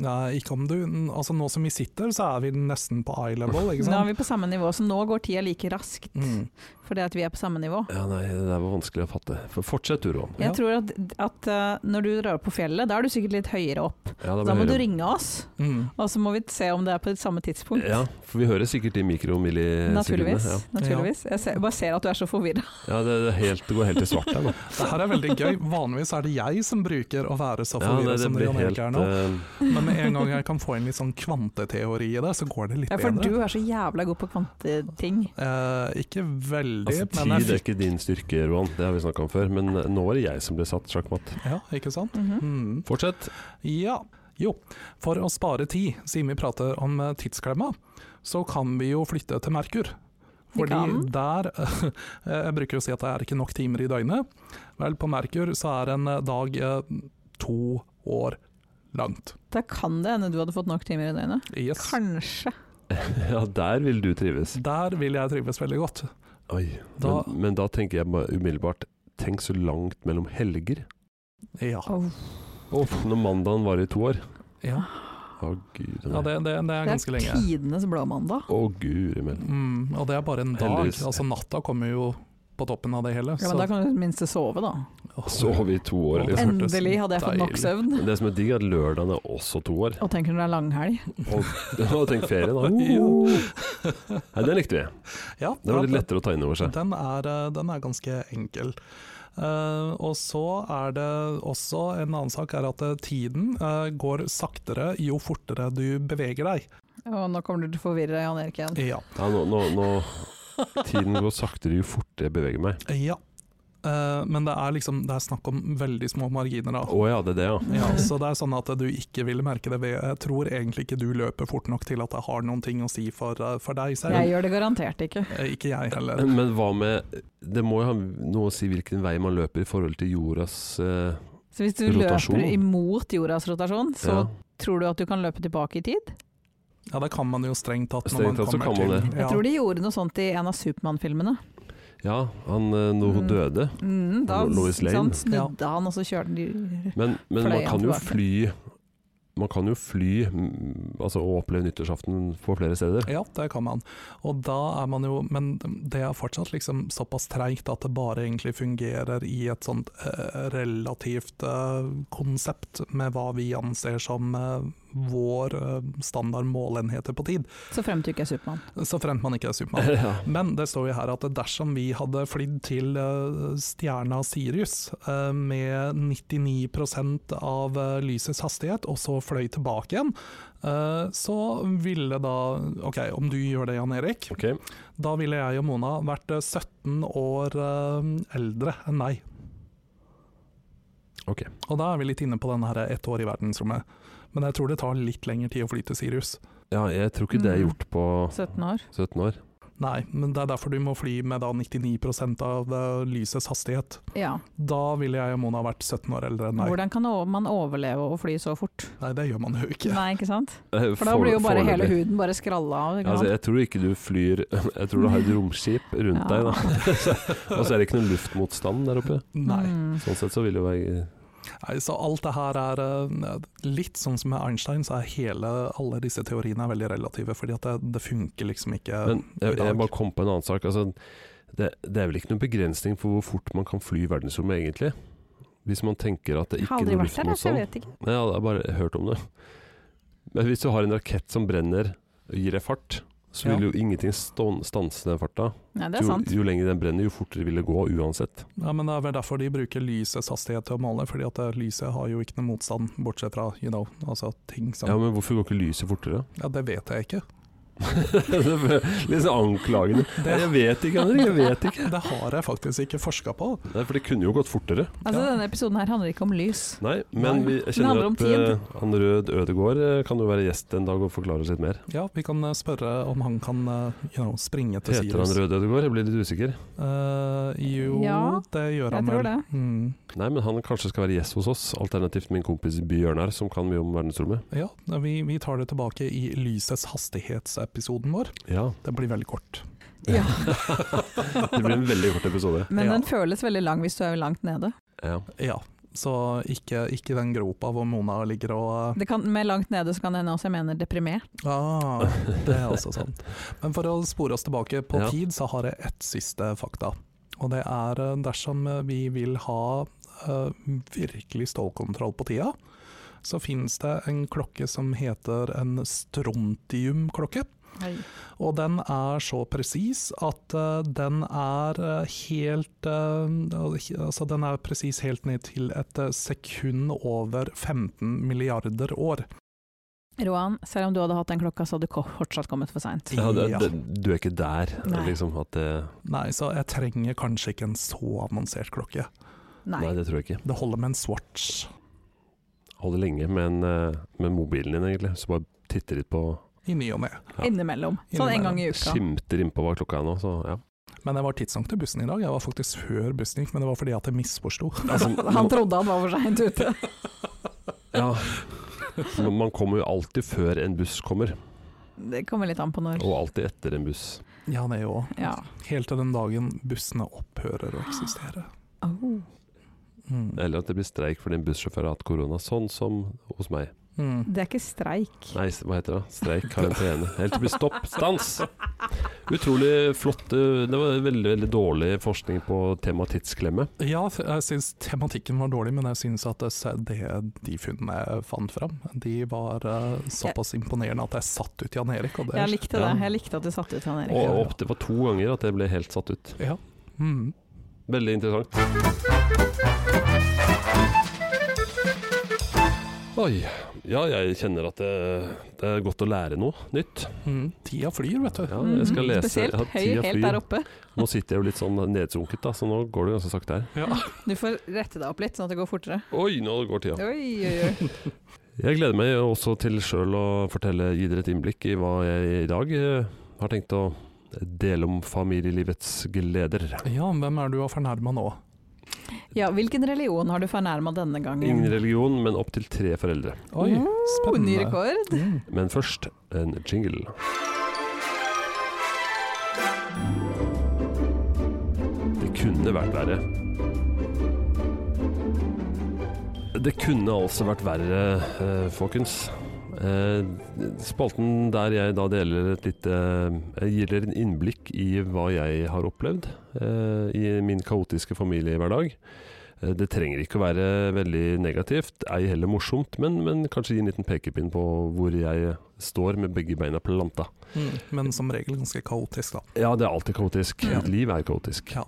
[SPEAKER 4] Nei, ikke om du Altså Nå som vi sitter, så er vi nesten på eye level, ikke
[SPEAKER 3] Nå er
[SPEAKER 4] sant?
[SPEAKER 3] vi på samme nivå, så nå går tida like raskt
[SPEAKER 4] Mm.
[SPEAKER 3] fordi at vi er på samme nivå.
[SPEAKER 2] Ja, nei, det der var vanskelig å fatte. For fortsett, du, Roan.
[SPEAKER 4] Ja.
[SPEAKER 3] Jeg tror at, at eh, når du drar opp på fjellet, da er du sikkert litt høyere opp.
[SPEAKER 2] Ja,
[SPEAKER 3] Da må
[SPEAKER 2] blir jeg
[SPEAKER 3] du
[SPEAKER 2] høyere.
[SPEAKER 3] ringe oss,
[SPEAKER 4] Mm.
[SPEAKER 3] og så må vi se om det er på det samme tidspunkt.
[SPEAKER 2] Ja, for vi hører sikkert i mikromillisekundene.
[SPEAKER 3] Naturligvis.
[SPEAKER 2] Ja.
[SPEAKER 3] naturligvis. Jeg ser, bare ser at du er så forvirra.
[SPEAKER 2] Ja, det, det, er helt, det går helt til svart her nå.
[SPEAKER 4] Det her er veldig gøy. Vanligvis er det jeg som bruker å være så
[SPEAKER 2] Ja, nei,
[SPEAKER 4] forvirret
[SPEAKER 2] det
[SPEAKER 4] som
[SPEAKER 2] blir
[SPEAKER 4] Jan
[SPEAKER 2] helt
[SPEAKER 4] Erik er nå.
[SPEAKER 2] eh,
[SPEAKER 4] Men med en gang jeg kan få inn litt sånn kvanteteori i det, så går det litt
[SPEAKER 3] Ja, for
[SPEAKER 4] bedre.
[SPEAKER 3] du er så jævla god på kvanteting.
[SPEAKER 4] Eh, ikke veldig,
[SPEAKER 2] altså,
[SPEAKER 4] men jeg
[SPEAKER 2] Tid er
[SPEAKER 4] fikk
[SPEAKER 2] ikke din styrke, Roan, det har vi snakka om før. Men nå er det jeg som blir satt sjakkmatt.
[SPEAKER 4] Ja, ikke sant?
[SPEAKER 3] Mhm.
[SPEAKER 4] Mm.
[SPEAKER 2] Fortsett.
[SPEAKER 4] Ja. Jo, for å spare tid, siden vi prater om eh, tidsklemma, så kan vi jo flytte til Merkur.
[SPEAKER 3] Vi
[SPEAKER 4] Fordi
[SPEAKER 3] kan.
[SPEAKER 4] der eh, Jeg bruker å si at det er ikke nok timer i døgnet. Vel, på Merkur så er en eh, dag eh, to år langt.
[SPEAKER 3] Da kan det hende du hadde fått nok timer i døgnet.
[SPEAKER 4] Yes.
[SPEAKER 3] Kanskje.
[SPEAKER 2] Ja, der vil du trives.
[SPEAKER 4] Der vil jeg trives veldig godt.
[SPEAKER 2] Oi,
[SPEAKER 4] Da-
[SPEAKER 2] men, men da tenker jeg bare umiddelbart Tenk så langt mellom helger.
[SPEAKER 4] Ja.
[SPEAKER 3] Oh.
[SPEAKER 2] Når mandagen varer i to år.
[SPEAKER 4] ja.
[SPEAKER 2] Å, gud.
[SPEAKER 4] ja det, det, det er
[SPEAKER 3] Ah. Det
[SPEAKER 4] ganske
[SPEAKER 3] er
[SPEAKER 4] lenge.
[SPEAKER 3] tidenes blåmandag.
[SPEAKER 2] Å, guri min.
[SPEAKER 4] Mm, og det er bare en dag.
[SPEAKER 2] Heldigvis.
[SPEAKER 4] Altså Natta kommer jo på toppen av det hele.
[SPEAKER 3] Ja, men da kan du i det minste sove, da.
[SPEAKER 4] Åh,
[SPEAKER 2] Sov i to år,
[SPEAKER 4] Det
[SPEAKER 2] liksom.
[SPEAKER 4] hørtes
[SPEAKER 3] Endelig hadde jeg fått nok
[SPEAKER 4] deilig.
[SPEAKER 3] søvn.
[SPEAKER 2] Men Det som er digg, er at lørdagen er også to år.
[SPEAKER 3] Og tenk når det er langhelg.
[SPEAKER 2] Og, og tenk ferie, da.
[SPEAKER 4] Jo.
[SPEAKER 2] Nei, den likte vi.
[SPEAKER 4] ja,
[SPEAKER 2] Det
[SPEAKER 4] ja,
[SPEAKER 2] var litt lettere å ta inn over seg.
[SPEAKER 4] Den er, eh, den er ganske enkel. Eh, og så er det også en annen sak er at eh, tiden eh, går saktere jo fortere du beveger deg.
[SPEAKER 3] Og nå kommer du til å forvirre Jan Erik igjen.
[SPEAKER 4] Ja.
[SPEAKER 2] Ja, nå, nå, nå Tiden går saktere jo fortere jeg beveger meg.
[SPEAKER 4] ja. Eh, men det er liksom det er snakk om veldig små marginer, da.
[SPEAKER 2] Å ja, det er det, ja.
[SPEAKER 4] Ja, så det er sånn at du ikke vil merke det. ved- Jeg tror egentlig ikke du løper fort nok til at det har noen ting å si for, eh, for deg selv.
[SPEAKER 3] Jeg gjør det garantert ikke.
[SPEAKER 4] Eh, Ikke jeg heller.
[SPEAKER 2] Men hva med Det må jo ha noe å si hvilken vei man løper i forhold til jordas eh,
[SPEAKER 3] Så hvis du
[SPEAKER 2] Rotasjon.
[SPEAKER 3] løper imot jordas rotasjon, så
[SPEAKER 2] ja.
[SPEAKER 3] tror du at du kan løpe tilbake i tid?
[SPEAKER 4] Ja, det kan man jo strengt tatt når
[SPEAKER 2] Strengt
[SPEAKER 4] man
[SPEAKER 2] tatt så
[SPEAKER 4] kommer
[SPEAKER 2] kan man
[SPEAKER 4] til
[SPEAKER 3] Jeg
[SPEAKER 4] ja.
[SPEAKER 3] tror de gjorde noe sånt i en av Supermann-filmene.
[SPEAKER 2] Ja, han, eh, når hun
[SPEAKER 3] Mm.
[SPEAKER 2] døde.
[SPEAKER 3] Mm, da
[SPEAKER 2] Lo- Lois
[SPEAKER 3] ikke sant, snudde han, og så kjørte de
[SPEAKER 2] Men, men
[SPEAKER 3] Fløy
[SPEAKER 2] man
[SPEAKER 3] han
[SPEAKER 2] kan jo
[SPEAKER 3] tilbake?
[SPEAKER 2] fly Man kan jo fly mm, altså, og oppleve nyttårsaften på flere steder.
[SPEAKER 4] Ja, det kan man. Og da er man jo Men det er fortsatt liksom såpass treigt at det bare egentlig fungerer i et sånt eh, relativt eh, konsept med hva vi anser som eh, vår eh, standard målenheter på tid.
[SPEAKER 3] Så frem til du ikke er Supermann.
[SPEAKER 4] Så fremt man ikke er Supermann.
[SPEAKER 2] Ja.
[SPEAKER 4] Men det står jo her at dersom vi hadde flydd til eh, stjerna Sirius eh, med 99 av eh, lysets hastighet, og så fløy tilbake igjen, eh, så ville da OK, om du gjør det, Jan Erik,
[SPEAKER 2] Ok,
[SPEAKER 4] da ville jeg og Mona vært eh, 17 år eh, eldre enn deg.
[SPEAKER 2] Ok.
[SPEAKER 4] Og da er vi litt inne på den her eh, ett år i verdensrommet. Men jeg tror det tar litt lengre tid å fly til Sirius.
[SPEAKER 2] ja, jeg tror ikke det er
[SPEAKER 3] Mm.
[SPEAKER 2] gjort på
[SPEAKER 3] 17 år.
[SPEAKER 2] 17 år.
[SPEAKER 4] Nei, men det er derfor du må fly med da 99 av eh, lysets hastighet.
[SPEAKER 3] Ja.
[SPEAKER 4] Da ville jeg og Mona vært 17 år eldre enn meg.
[SPEAKER 3] Hvordan kan o- man overleve å fly så fort?
[SPEAKER 4] Nei, det gjør man jo ikke.
[SPEAKER 3] Nei, ikke sant?
[SPEAKER 2] Eh,
[SPEAKER 3] For da blir jo bare
[SPEAKER 2] foreløpig.
[SPEAKER 3] hele huden bare skralla av. Ikke
[SPEAKER 2] Altså,
[SPEAKER 3] sant?
[SPEAKER 2] jeg tror ikke du flyr Jeg tror du har et romskip rundt deg, da. Og så er det ikke noen luftmotstand der oppe.
[SPEAKER 4] Nei.
[SPEAKER 3] Mm.
[SPEAKER 2] Sånn sett så vil det jo være
[SPEAKER 4] Nei, så alt det her er eh, litt sånn som med Einstein, så er hele, alle disse teoriene er veldig relative, fordi at det, det funker liksom ikke.
[SPEAKER 2] Men jeg,
[SPEAKER 4] i dag.
[SPEAKER 2] jeg bare kom på en annen sak. Altså, det, det er vel ikke noen begrensning for hvor fort man kan fly i verdensrommet, egentlig? Hvis man tenker at det
[SPEAKER 3] Jeg
[SPEAKER 2] ikke
[SPEAKER 3] har
[SPEAKER 2] er
[SPEAKER 3] aldri
[SPEAKER 2] noe
[SPEAKER 3] vært der, så jeg
[SPEAKER 2] luftmotstand.
[SPEAKER 3] vet ikke.
[SPEAKER 2] Nei, jeg har bare hørt om det. Men hvis du har en rakett som brenner og gir deg fart, så vil
[SPEAKER 4] Ja.
[SPEAKER 2] jo ingenting stå- stanse den farta.
[SPEAKER 3] Nei, det er
[SPEAKER 2] Jo,
[SPEAKER 3] sant.
[SPEAKER 2] jo lenger den brenner, jo fortere vil det gå uansett.
[SPEAKER 4] ja, men det er vel derfor de bruker lysets hastighet til å måle, fordi at eh, lyset har jo ikke noe motstand, bortsett fra you know, altså ting som
[SPEAKER 2] Ja,
[SPEAKER 4] ja,
[SPEAKER 2] Men hvorfor går ikke lyset fortere?
[SPEAKER 4] det vet jeg ikke.
[SPEAKER 2] Litt sånn anklagende. Nei, Jeg vet ikke, Henrik. Jeg vet ikke.
[SPEAKER 4] Det har jeg faktisk ikke forska på.
[SPEAKER 2] Nei, for det kunne jo gått fortere.
[SPEAKER 3] Altså,
[SPEAKER 4] Ja.
[SPEAKER 3] denne episoden her handler ikke om lys.
[SPEAKER 2] Nei, men
[SPEAKER 4] Nei.
[SPEAKER 2] vi jeg
[SPEAKER 3] Den handler
[SPEAKER 2] kjenner
[SPEAKER 3] om
[SPEAKER 2] at eh, han Rød Ødegård eh, kan jo være gjest en dag og forklare oss litt mer.
[SPEAKER 4] Ja, vi kan eh, spørre om han kan eh, you know, springe til
[SPEAKER 2] Heter han
[SPEAKER 4] Sirius.
[SPEAKER 2] Rød Ødegård? Jeg blir litt usikker.
[SPEAKER 4] Eh, jo,
[SPEAKER 3] Ja,
[SPEAKER 4] det gjør
[SPEAKER 3] jeg
[SPEAKER 4] han
[SPEAKER 3] tror
[SPEAKER 4] vel.
[SPEAKER 3] det.
[SPEAKER 4] Mm.
[SPEAKER 2] Nei, men han kanskje skal være gjest hos oss, alternativt min kompis Bjørnar, som kan mye om verdensrommet.
[SPEAKER 4] Ja, vi, vi tar det tilbake i lysets hastighetsepisoden vår.
[SPEAKER 2] Ja,
[SPEAKER 4] Det blir veldig kort.
[SPEAKER 3] Ja.
[SPEAKER 2] det blir en veldig kort episode.
[SPEAKER 3] Men
[SPEAKER 4] Ja.
[SPEAKER 3] den føles veldig lang hvis du er langt nede.
[SPEAKER 2] Ja.
[SPEAKER 4] Ja, så ikke, ikke den gropa hvor Mona ligger og eh,
[SPEAKER 3] Det kan, med langt nede så kan det hende også jeg mener deprimert.
[SPEAKER 4] ah, Det er også sant. Men for å spore oss tilbake på
[SPEAKER 2] Ja.
[SPEAKER 4] tid, så har jeg ett siste fakta. Og det er eh, dersom eh, vi vil ha eh, virkelig stålkontroll på tida, så finnes det en klokke som heter en strontiumklokke. Og den er så presis at eh, den er eh, helt eh, Altså, den er presis helt ned til et eh, sekund over 15 milliarder år.
[SPEAKER 3] Roan, selv om du hadde hatt den klokka, så hadde du ko- fortsatt kommet for seint.
[SPEAKER 2] Ja, det,
[SPEAKER 4] Ja.
[SPEAKER 2] det, du er ikke der,
[SPEAKER 3] Nei.
[SPEAKER 2] liksom. At det,
[SPEAKER 4] Nei, så jeg trenger kanskje ikke en så avansert klokke.
[SPEAKER 3] Nei.
[SPEAKER 2] nei, det tror jeg ikke.
[SPEAKER 4] Det holder med en Swatch.
[SPEAKER 2] Holder lenge med, en, eh, med mobilen din, egentlig. Så bare titter litt på
[SPEAKER 4] I ny og ne.
[SPEAKER 2] Ja.
[SPEAKER 3] Innimellom. Sånn en gang i uka.
[SPEAKER 2] Skimter innpå hva klokka er nå, så ja.
[SPEAKER 4] Men jeg var tidsnok til bussen i dag. Jeg var faktisk før bussen gikk, men det var fordi at jeg misforsto.
[SPEAKER 2] Altså,
[SPEAKER 3] Han trodde han var for seint ute.
[SPEAKER 2] Ja. Men man kommer jo alltid før en buss kommer,
[SPEAKER 3] Det kommer litt an på når.
[SPEAKER 2] og alltid etter en buss.
[SPEAKER 4] Ja, det òg.
[SPEAKER 3] Ja.
[SPEAKER 4] Helt til den dagen bussene opphører å eksistere.
[SPEAKER 3] Oh.
[SPEAKER 4] Mm.
[SPEAKER 2] Eller at det blir streik fordi en bussjåfør har hatt korona, sånn som hos meg.
[SPEAKER 4] Mm.
[SPEAKER 3] Det er ikke streik.
[SPEAKER 2] Nei, s- hva heter det? Streik, karantene. Helt til det blir stopp, stans! Utrolig flott. eh, Det var veldig, veldig dårlig forskning på temaet tidsklemme.
[SPEAKER 4] Ja, jeg syns tematikken var dårlig, men jeg syns at det se- det de funnene jeg fant fram, de var eh, såpass imponerende at jeg satt ut Jan Erik. Og det,
[SPEAKER 3] Jeg likte det.
[SPEAKER 2] Ja.
[SPEAKER 3] Jeg likte at du satte ut han Erik.
[SPEAKER 2] Og opp, det var to ganger at jeg ble helt satt ut.
[SPEAKER 4] Ja. Mm.
[SPEAKER 2] Veldig interessant. Oi. Ja, jeg kjenner at det, det er godt å lære noe nytt.
[SPEAKER 4] Mm. Tida flyr, vet du.
[SPEAKER 2] Ja, jeg skal
[SPEAKER 3] Mhm.
[SPEAKER 2] lese.
[SPEAKER 3] Spesielt
[SPEAKER 2] Ja,
[SPEAKER 3] høy
[SPEAKER 2] tida
[SPEAKER 3] helt
[SPEAKER 2] flyr.
[SPEAKER 3] der oppe.
[SPEAKER 2] Nå sitter jeg jo litt sånn nedsunket, da, så nå går det ganske sakte her.
[SPEAKER 3] Du får rette deg opp litt, sånn at det går fortere.
[SPEAKER 2] Oi, nå går tida.
[SPEAKER 3] Oi, oi, oi.
[SPEAKER 2] Jeg gleder meg også til sjøl å fortelle, gi dere et innblikk i hva jeg i dag eh, har tenkt å dele om familielivets gleder.
[SPEAKER 4] Ja, hvem er du har fornærma nå?
[SPEAKER 3] Ja, hvilken religion har du fornærma denne gangen?
[SPEAKER 2] Ingen religion, men opptil tre foreldre.
[SPEAKER 4] Oi,
[SPEAKER 3] Oh, ny
[SPEAKER 4] spennende.
[SPEAKER 3] rekord.
[SPEAKER 4] Mm.
[SPEAKER 2] Men først en jingle. Det kunne vært verre. Det kunne altså vært verre, eh, folkens. Eh, Spalten der jeg da deler et lite Jeg gir dere en innblikk i hva jeg har opplevd eh, i min kaotiske familiehverdag. Eh, Det trenger ikke å være veldig negativt, ei heller morsomt, men, men kanskje gi en liten pekepinn på hvor jeg står med begge beina planta.
[SPEAKER 4] Mm. Men som regel ganske kaotisk, da.
[SPEAKER 2] Ja, det er alltid kaotisk.
[SPEAKER 4] Ja.
[SPEAKER 2] Et liv er kaotisk.
[SPEAKER 4] Ja.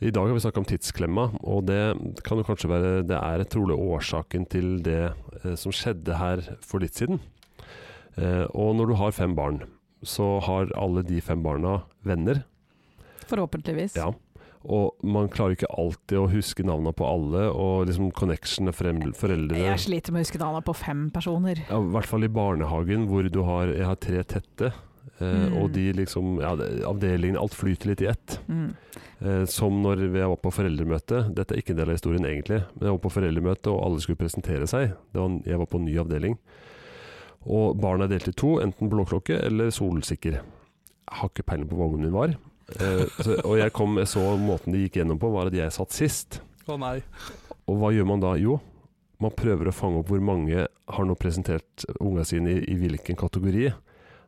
[SPEAKER 2] I dag har vi snakka om tidsklemma, og det kan jo kanskje være Det er trolig årsaken til det eh, som skjedde her for litt siden. Eh, og når du har fem barn, så har alle de fem barna venner.
[SPEAKER 3] Forhåpentligvis.
[SPEAKER 2] Ja. Og man klarer ikke alltid å huske navnene på alle, og liksom connectionene frem- foreldre
[SPEAKER 3] Jeg sliter med å huske navnet på fem personer.
[SPEAKER 2] ja, I hvert fall i barnehagen, hvor du har, jeg har tre tette. Eh,
[SPEAKER 3] Mm.
[SPEAKER 2] Og de liksom, ja, det- avdelingen, alt flyter litt i ett.
[SPEAKER 3] Mm.
[SPEAKER 2] Eh, som når jeg var på foreldremøte. Dette er ikke en del av historien egentlig, men jeg var på foreldremøte, og alle skulle presentere seg. Det var, jeg var på en ny avdeling. Og barna er delt i to, enten blåklokke eller solsikker. Jeg har ikke peiling på hva ungen min var. Eh, så, og jeg, kom, jeg så måten de gikk gjennom på, var at jeg satt sist.
[SPEAKER 4] Å nei.
[SPEAKER 2] Og hva gjør man da? Jo, man prøver å fange opp hvor mange har nå presentert unga sine i, i hvilken kategori.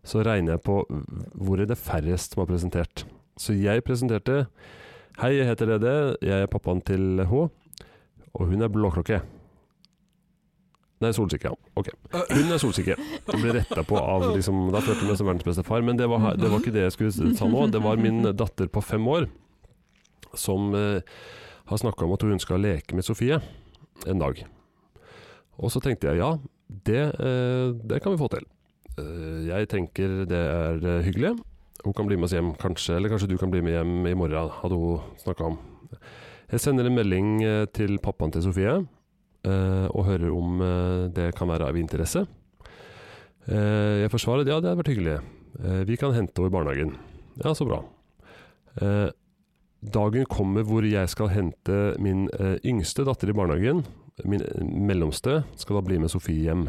[SPEAKER 2] Så regner jeg på hvor er det færrest som har presentert. Så jeg presenterte Hei, jeg heter Dede, jeg er pappaen til H, og hun er blåklokke. Nei, solsikke. ja. Ok. Hun er solsikke. Jeg ble retta på av liksom, Da følte jeg meg som verdens beste far, men det var, det var ikke det jeg skulle ta nå. Det var min datter på fem år som eh, har snakka om at hun skal leke med Sofie en dag. Og så tenkte jeg ja, det, eh, det kan vi få til. Eh, jeg tenker det er eh, hyggelig. Hun kan bli med oss hjem kanskje, eller kanskje du kan bli med hjem i morgen, hadde hun snakka om. Jeg sender en melding eh, til pappaen til Sofie eh, og hører om eh, det kan være av interesse. Eh, jeg forsvarer ja, det hadde vært hyggelig. Eh, vi kan hente henne i barnehagen. Ja, så bra. Eh, Dagen kommer hvor jeg skal hente min eh, yngste datter i barnehagen. Min eh, mellomste skal da bli med Sofie hjem.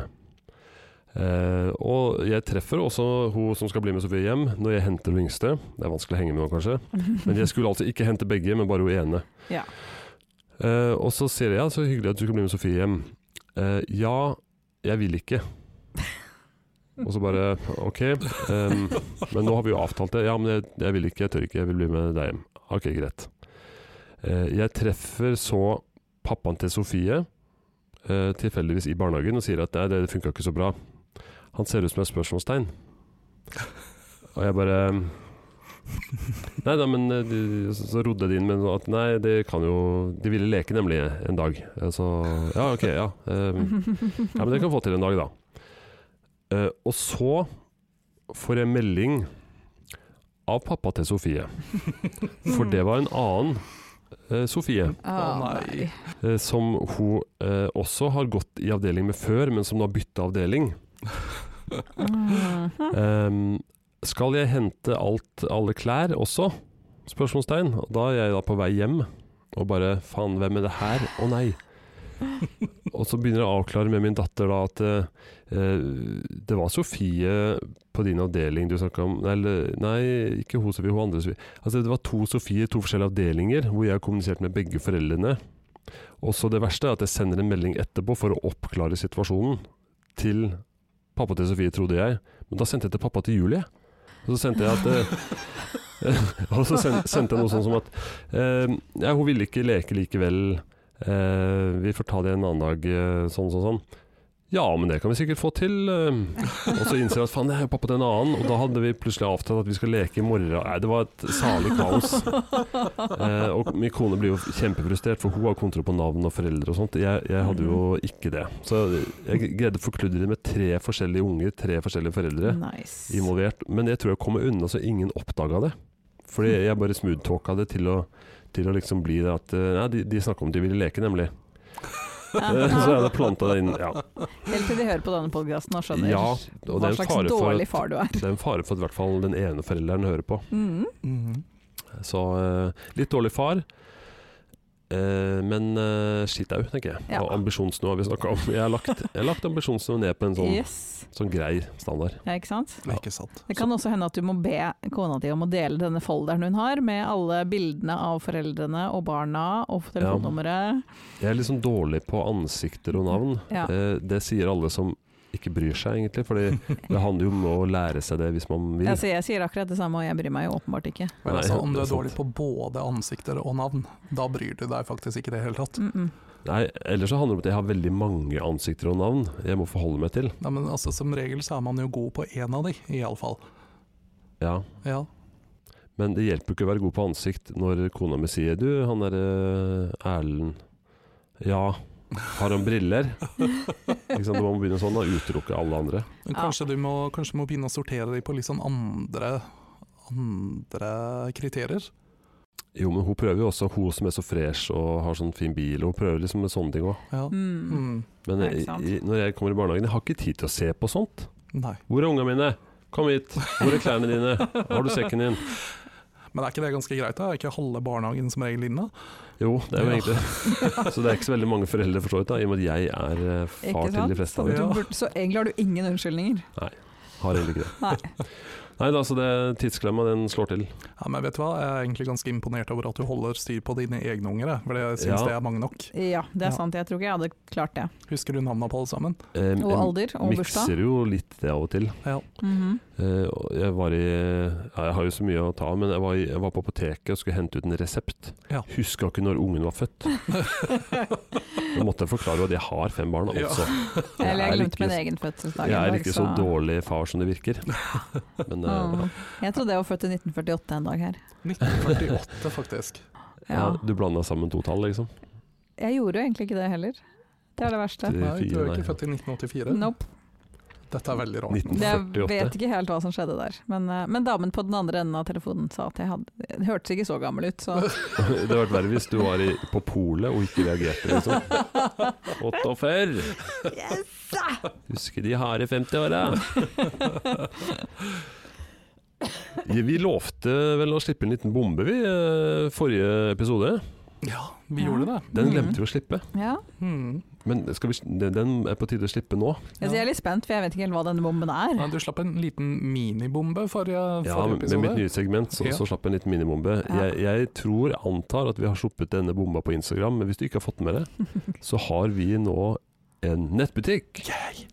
[SPEAKER 2] Eh, og jeg treffer også hun som skal bli med Sofie hjem, når jeg henter hun yngste. Det er vanskelig å henge med nå, kanskje. Men jeg skulle altså ikke hente begge, men bare hun ene.
[SPEAKER 3] Ja.
[SPEAKER 2] Eh, og så sier jeg ja, så hyggelig at du skal bli med Sofie hjem. Eh, ja, jeg vil ikke. Og så bare OK. ehm, men nå har vi jo avtalt det. Ja, men jeg, jeg vil ikke, jeg tør ikke, jeg vil bli med deg hjem. Ok, greit. Eh, jeg treffer så pappaen til Sofie eh, tilfeldigvis i barnehagen og sier at nei, det funka ikke så bra. Han ser ut som et spørsmålstegn. Og jeg bare Nei da, men eh, de, så så rodde jeg det inn med at nei, det kan jo De ville leke nemlig en dag. Eh, Så ja, ok, ja. ehm, ja, men det kan vi få til en dag, da. Eh, og så får jeg melding av pappa til Sofie.
[SPEAKER 3] Mm.
[SPEAKER 2] For det var en annen eh, Sofie,
[SPEAKER 3] Ah,
[SPEAKER 4] Å, nei.
[SPEAKER 2] eh, som hun eh, også har gått i avdeling med før, men som nå har bytta avdeling.
[SPEAKER 3] Mhm.
[SPEAKER 2] Ehm, skal jeg hente alt, alle klær også? Spørsmålstegn. Og da er jeg da på vei hjem og bare faen, hvem er det her? Å nei. Og så begynner jeg å avklare med min datter da at eh, det var Sofie på din avdeling du snakka om Nei, eller- nei, ikke hun Sofie, hun andre Sofie. Altså det var to Sofie i to forskjellige avdelinger hvor jeg kommuniserte med begge foreldrene. Og så det verste er at jeg sender en melding etterpå for å oppklare situasjonen til pappa til Sofie, trodde jeg. Men da sendte jeg til pappa til Julie. Og så sendte jeg at eh, Og så sen- sendte jeg noe sånn som at eh, Ja, hun ville ikke leke likevel. Eh, vi får ta det en annen dag, eh, sånn sånn sånn. Ja, men det kan vi sikkert få til. eh. Og så innser jeg at faen, det er jo pappa til en annen. Og da hadde vi plutselig avtalt at vi skal leke i morgen. Nei, det var et salig kaos. Eh, og min kone blir jo kjempefrustrert, for hun har kontroll på navn og foreldre og sånt. Jeg, jeg hadde jo ikke det. Så jeg greide å forkludre det med tre forskjellige unger, tre forskjellige foreldre
[SPEAKER 3] Ah, Nice.
[SPEAKER 2] involvert. Men jeg tror jeg kom meg unna så ingen oppdaga det. Fordi
[SPEAKER 3] Mm.
[SPEAKER 2] jeg bare smooth-talka det til å, til å liksom bli det at eh, Nei, de, de snakka om at de ville leke, nemlig. Eh, Så jeg
[SPEAKER 3] Aha.
[SPEAKER 2] hadde planta det inn. Ja.
[SPEAKER 3] Helt til de hører på denne podkasten og skjønner
[SPEAKER 2] Ja, og det er
[SPEAKER 3] hva
[SPEAKER 2] en
[SPEAKER 3] slags
[SPEAKER 2] fare for
[SPEAKER 3] dårlig
[SPEAKER 2] at-
[SPEAKER 3] far du er. Mm.
[SPEAKER 2] Det er en fare for at i hvert fall den ene
[SPEAKER 4] Mm,
[SPEAKER 2] forelderen hører på.
[SPEAKER 3] Mhm.
[SPEAKER 4] Mhm.
[SPEAKER 2] Så eh, litt dårlig far. Eh, men eh, skitt au, tenker jeg.
[SPEAKER 3] Ja.
[SPEAKER 2] Og ambisjonsnivå har vi snakka om. Jeg har lagt, jeg har lagt ambisjonsnivå ned på en sånn,
[SPEAKER 3] Yes.
[SPEAKER 2] sånn grei standard.
[SPEAKER 3] Ja, ikke sant?
[SPEAKER 4] Det er ikke sant.
[SPEAKER 3] Det kan også hende at du må be kona di om å dele denne folderen hun har, med alle bildene av foreldrene og barna og telefonnummeret.
[SPEAKER 2] Jeg er litt sånn dårlig på ansikter og navn.
[SPEAKER 3] Ja.
[SPEAKER 2] Eh, det sier alle som ikke bryr seg, egentlig. Fordi det handler jo om å lære seg det hvis man vil.
[SPEAKER 3] Altså, jeg sier akkurat det samme, og jeg bryr meg jo åpenbart ikke.
[SPEAKER 4] Men
[SPEAKER 2] Nei,
[SPEAKER 4] altså, om
[SPEAKER 2] det
[SPEAKER 4] du
[SPEAKER 2] er
[SPEAKER 4] er dårlig
[SPEAKER 2] sant.
[SPEAKER 4] på både ansikter og navn, da bryr du deg faktisk ikke i det hele tatt.
[SPEAKER 3] Mm -mm.
[SPEAKER 2] Nei, ellers så handler det om at jeg har veldig mange ansikter og navn jeg må forholde meg til.
[SPEAKER 4] Nei, men altså, som regel så er man jo god på én av de, iallfall.
[SPEAKER 2] Ja.
[SPEAKER 4] Ja.
[SPEAKER 2] Men det hjelper jo ikke å være god på ansikt når kona mi sier du, han derre Erlend Ja, har han briller? ikke sant? Da må man begynne sånn, da. Utelukke alle andre.
[SPEAKER 4] Men
[SPEAKER 3] Ja.
[SPEAKER 4] kanskje du må, kanskje må begynne å sortere de på litt sånn andre, andre kriterier?
[SPEAKER 2] Jo, men hun prøver jo også, hun som er så fresh og har sånn fin bil, og hun prøver liksom med sånne ting òg.
[SPEAKER 4] Ja.
[SPEAKER 3] Mm.
[SPEAKER 4] Mm.
[SPEAKER 2] Men
[SPEAKER 3] Ja,
[SPEAKER 2] i,
[SPEAKER 3] ikke sant?
[SPEAKER 2] i, når jeg kommer i barnehagen, jeg har ikke tid til å se på sånt.
[SPEAKER 4] Nei.
[SPEAKER 2] Hvor er ungene mine? Kom hit. Hvor er klærne dine? Har du sekken din?
[SPEAKER 4] Men er ikke det ganske greit? da? Er ikke halve barnehagen som regel inne?
[SPEAKER 2] Jo, det er jo
[SPEAKER 4] Ja.
[SPEAKER 2] egentlig Så det er ikke så veldig mange foreldre, for så vidt, da, i og med at jeg er eh, far
[SPEAKER 3] Ikke
[SPEAKER 2] til de
[SPEAKER 3] sant? Sånn,
[SPEAKER 2] fleste
[SPEAKER 3] Så,
[SPEAKER 2] av dem.
[SPEAKER 3] du burde, så egentlig har du ingen unnskyldninger.
[SPEAKER 2] Har egentlig ikke det.
[SPEAKER 3] Nei.
[SPEAKER 2] Nei da, så det tidsklemma, den slår til.
[SPEAKER 4] Ja, men vet du hva? Jeg er egentlig ganske imponert over at du holder styr på dine egne unger, jeg, for jeg syns
[SPEAKER 2] Ja.
[SPEAKER 4] det er mange nok.
[SPEAKER 3] Ja, det
[SPEAKER 4] Ja.
[SPEAKER 3] er sant. Jeg tror ikke jeg hadde klart det.
[SPEAKER 4] Husker du navnene på alle sammen?
[SPEAKER 2] Eh,
[SPEAKER 3] Og alder og
[SPEAKER 2] jeg
[SPEAKER 3] bursdag.
[SPEAKER 2] mikser jo litt det av og til.
[SPEAKER 4] Ja.
[SPEAKER 3] Mhm.
[SPEAKER 2] Eh, og jeg var i ja, Jeg har jo så mye å ta av, men jeg var, i, jeg var på apoteket og skulle hente ut en resept.
[SPEAKER 4] Ja.
[SPEAKER 2] Huska ikke når ungen var født. Da måtte jeg forklare at jeg har fem barn,
[SPEAKER 4] Ja.
[SPEAKER 2] altså.
[SPEAKER 3] Eller jeg
[SPEAKER 2] er
[SPEAKER 3] glemte
[SPEAKER 2] ikke-
[SPEAKER 3] min egen fødselsdag.
[SPEAKER 2] Jeg
[SPEAKER 3] en
[SPEAKER 2] er
[SPEAKER 3] dag,
[SPEAKER 2] ikke så dårlig far som det virker. Men eh,
[SPEAKER 3] Mm. Jeg trodde jeg var født i 1948 en dag her.
[SPEAKER 4] 1948, faktisk.
[SPEAKER 2] ja,
[SPEAKER 3] Ja.
[SPEAKER 2] du blanda sammen to tall, liksom.
[SPEAKER 3] Jeg gjorde jo egentlig ikke det heller. Det er det verste.
[SPEAKER 2] Det-
[SPEAKER 4] Nei, du er
[SPEAKER 2] Nei.
[SPEAKER 4] ikke født i 1984.
[SPEAKER 3] Nope.
[SPEAKER 4] Dette er veldig rart.
[SPEAKER 2] 19.
[SPEAKER 3] Jeg
[SPEAKER 2] 48.
[SPEAKER 3] vet ikke helt hva som skjedde der. Men, eh, men damen på den andre enden av telefonen sa at jeg hadde Det hørtes ikke så gammel ut, så
[SPEAKER 2] Det hadde vært verre hvis du var i, på polet og ikke reagerte, liksom. 48!
[SPEAKER 3] Yes!
[SPEAKER 2] Husker de harde 50-åra. Vi lovte vel å slippe en liten bombe, vi, eh, forrige episode.
[SPEAKER 4] Ja, vi
[SPEAKER 3] Ja.
[SPEAKER 4] gjorde det.
[SPEAKER 2] Den
[SPEAKER 3] Mhm.
[SPEAKER 2] glemte vi å slippe.
[SPEAKER 3] Ja.
[SPEAKER 4] Hmm.
[SPEAKER 2] Men skal vi, den- den er på tide å slippe nå.
[SPEAKER 3] Jeg, så jeg er litt spent, for jeg vet ikke helt hva denne bomben
[SPEAKER 4] Nei,
[SPEAKER 3] er.
[SPEAKER 4] du slapp en liten minibombe forrige,
[SPEAKER 2] Ja,
[SPEAKER 4] forrige
[SPEAKER 2] med med mitt
[SPEAKER 4] episode.
[SPEAKER 2] nye segment så,
[SPEAKER 4] Ja.
[SPEAKER 2] så slapp jeg en liten minibombe.
[SPEAKER 3] Ja.
[SPEAKER 2] Jeg, jeg tror, antar, at vi har sluppet denne bomba på Instagram, men hvis du ikke har fått med det, så har vi nå en nettbutikk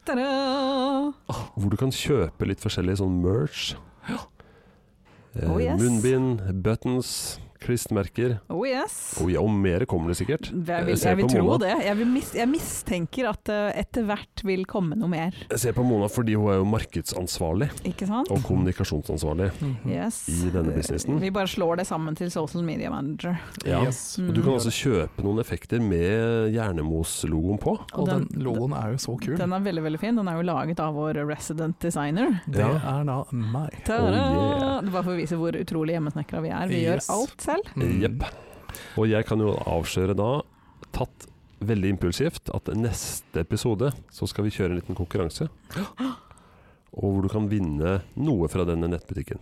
[SPEAKER 3] Ta-da!
[SPEAKER 2] hvor du kan kjøpe litt forskjellig sånn merch. Eh,
[SPEAKER 3] Oh, yes.
[SPEAKER 2] Munnbind, buttons, klistmerker.
[SPEAKER 3] Oh yes!
[SPEAKER 2] Og, ja, og mer kommer det sikkert.
[SPEAKER 3] Jeg vil,
[SPEAKER 2] Jeg ser
[SPEAKER 3] jeg vil
[SPEAKER 2] på
[SPEAKER 3] tro
[SPEAKER 2] Mona.
[SPEAKER 3] det. Jeg, vil mis, jeg mistenker at det etter hvert vil komme noe mer,
[SPEAKER 2] Jeg ser på Mona fordi hun er jo markedsansvarlig
[SPEAKER 3] ikke sant?
[SPEAKER 2] og kommunikasjonsansvarlig.
[SPEAKER 4] Mhm.
[SPEAKER 3] Yes.
[SPEAKER 2] hm. I denne businessen.
[SPEAKER 3] Vi bare slår det sammen til Social Media Manager.
[SPEAKER 2] Ja.
[SPEAKER 4] Yes.
[SPEAKER 2] Og du kan
[SPEAKER 3] Mm.
[SPEAKER 2] altså kjøpe noen effekter med Jernemos-logoen på.
[SPEAKER 4] Og den logoen er jo så kul.
[SPEAKER 3] Den er veldig, veldig fin. Den er jo laget av vår resident designer.
[SPEAKER 4] Det
[SPEAKER 2] Ja.
[SPEAKER 4] er da meg.
[SPEAKER 3] Ta-da!
[SPEAKER 2] Oh, yeah.
[SPEAKER 3] Det er bare for å vise hvor utrolig hjemmesnekra vi er. Vi
[SPEAKER 4] Yes.
[SPEAKER 3] gjør alt selv.
[SPEAKER 4] Mm.
[SPEAKER 2] Jepp. Og jeg kan jo avsløre da, tatt veldig impulsivt, at neste episode så skal vi kjøre en liten konkurranse. Og hvor du kan vinne noe fra denne nettbutikken.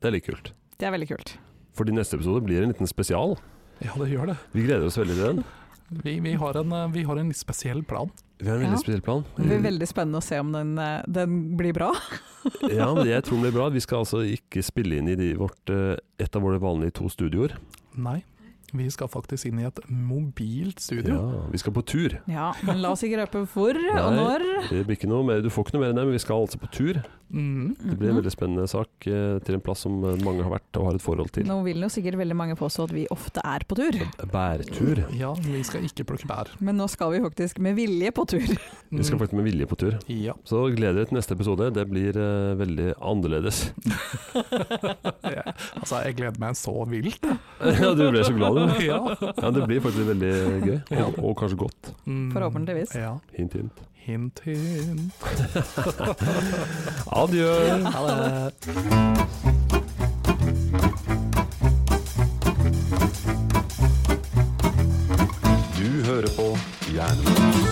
[SPEAKER 2] Det er litt kult.
[SPEAKER 3] Det er veldig kult.
[SPEAKER 2] Fordi neste episode blir en liten spesial.
[SPEAKER 4] Ja, det gjør det.
[SPEAKER 2] Vi gleder oss veldig til den.
[SPEAKER 4] Vi, vi, har en, eh, vi har en litt spesiell plan.
[SPEAKER 2] Vi har en veldig
[SPEAKER 3] Ja.
[SPEAKER 2] spesiell plan.
[SPEAKER 3] Det blir veldig spennende å se om den, eh, den blir bra.
[SPEAKER 2] Ja, men jeg tror det blir bra. Vi skal altså ikke spille inn i de, vårt, eh, et av våre vanlige to studioer.
[SPEAKER 4] Nei, vi skal faktisk inn i et mobilt studio.
[SPEAKER 2] Ja, vi skal på tur.
[SPEAKER 3] Ja, men la oss ikke røpe hvor og
[SPEAKER 2] Nei.
[SPEAKER 3] når.
[SPEAKER 2] Det blir ikke noe mer, du får ikke noe mer enn det, men vi skal altså på tur.
[SPEAKER 4] Mm.
[SPEAKER 2] Det blir en
[SPEAKER 3] Mhm.
[SPEAKER 2] veldig spennende sak eh, til en plass som eh, mange har vært og har et forhold til.
[SPEAKER 3] Nå vil jo sikkert veldig mange påstå at vi ofte er på tur,
[SPEAKER 2] Bærtur.
[SPEAKER 4] Ja, vi skal ikke plukke bær.
[SPEAKER 3] men nå skal vi faktisk med vilje på tur.
[SPEAKER 2] Vi skal
[SPEAKER 4] Mm.
[SPEAKER 2] faktisk med vilje på tur.
[SPEAKER 4] Ja.
[SPEAKER 2] Så gleder dere til neste episode. Det blir eh, veldig annerledes.
[SPEAKER 4] Jeg, altså, jeg gleder meg så vilt.
[SPEAKER 2] ja, du ble så glad, du.
[SPEAKER 4] Ja.
[SPEAKER 2] Ja, det blir faktisk veldig gøy. Og, og kanskje godt.
[SPEAKER 4] Mm.
[SPEAKER 3] Forhåpentligvis.
[SPEAKER 4] Ja.
[SPEAKER 2] Hint, hint.
[SPEAKER 4] Hint, hint.
[SPEAKER 2] Adjø.
[SPEAKER 4] Ha det.
[SPEAKER 1] Du hører på Jernemos.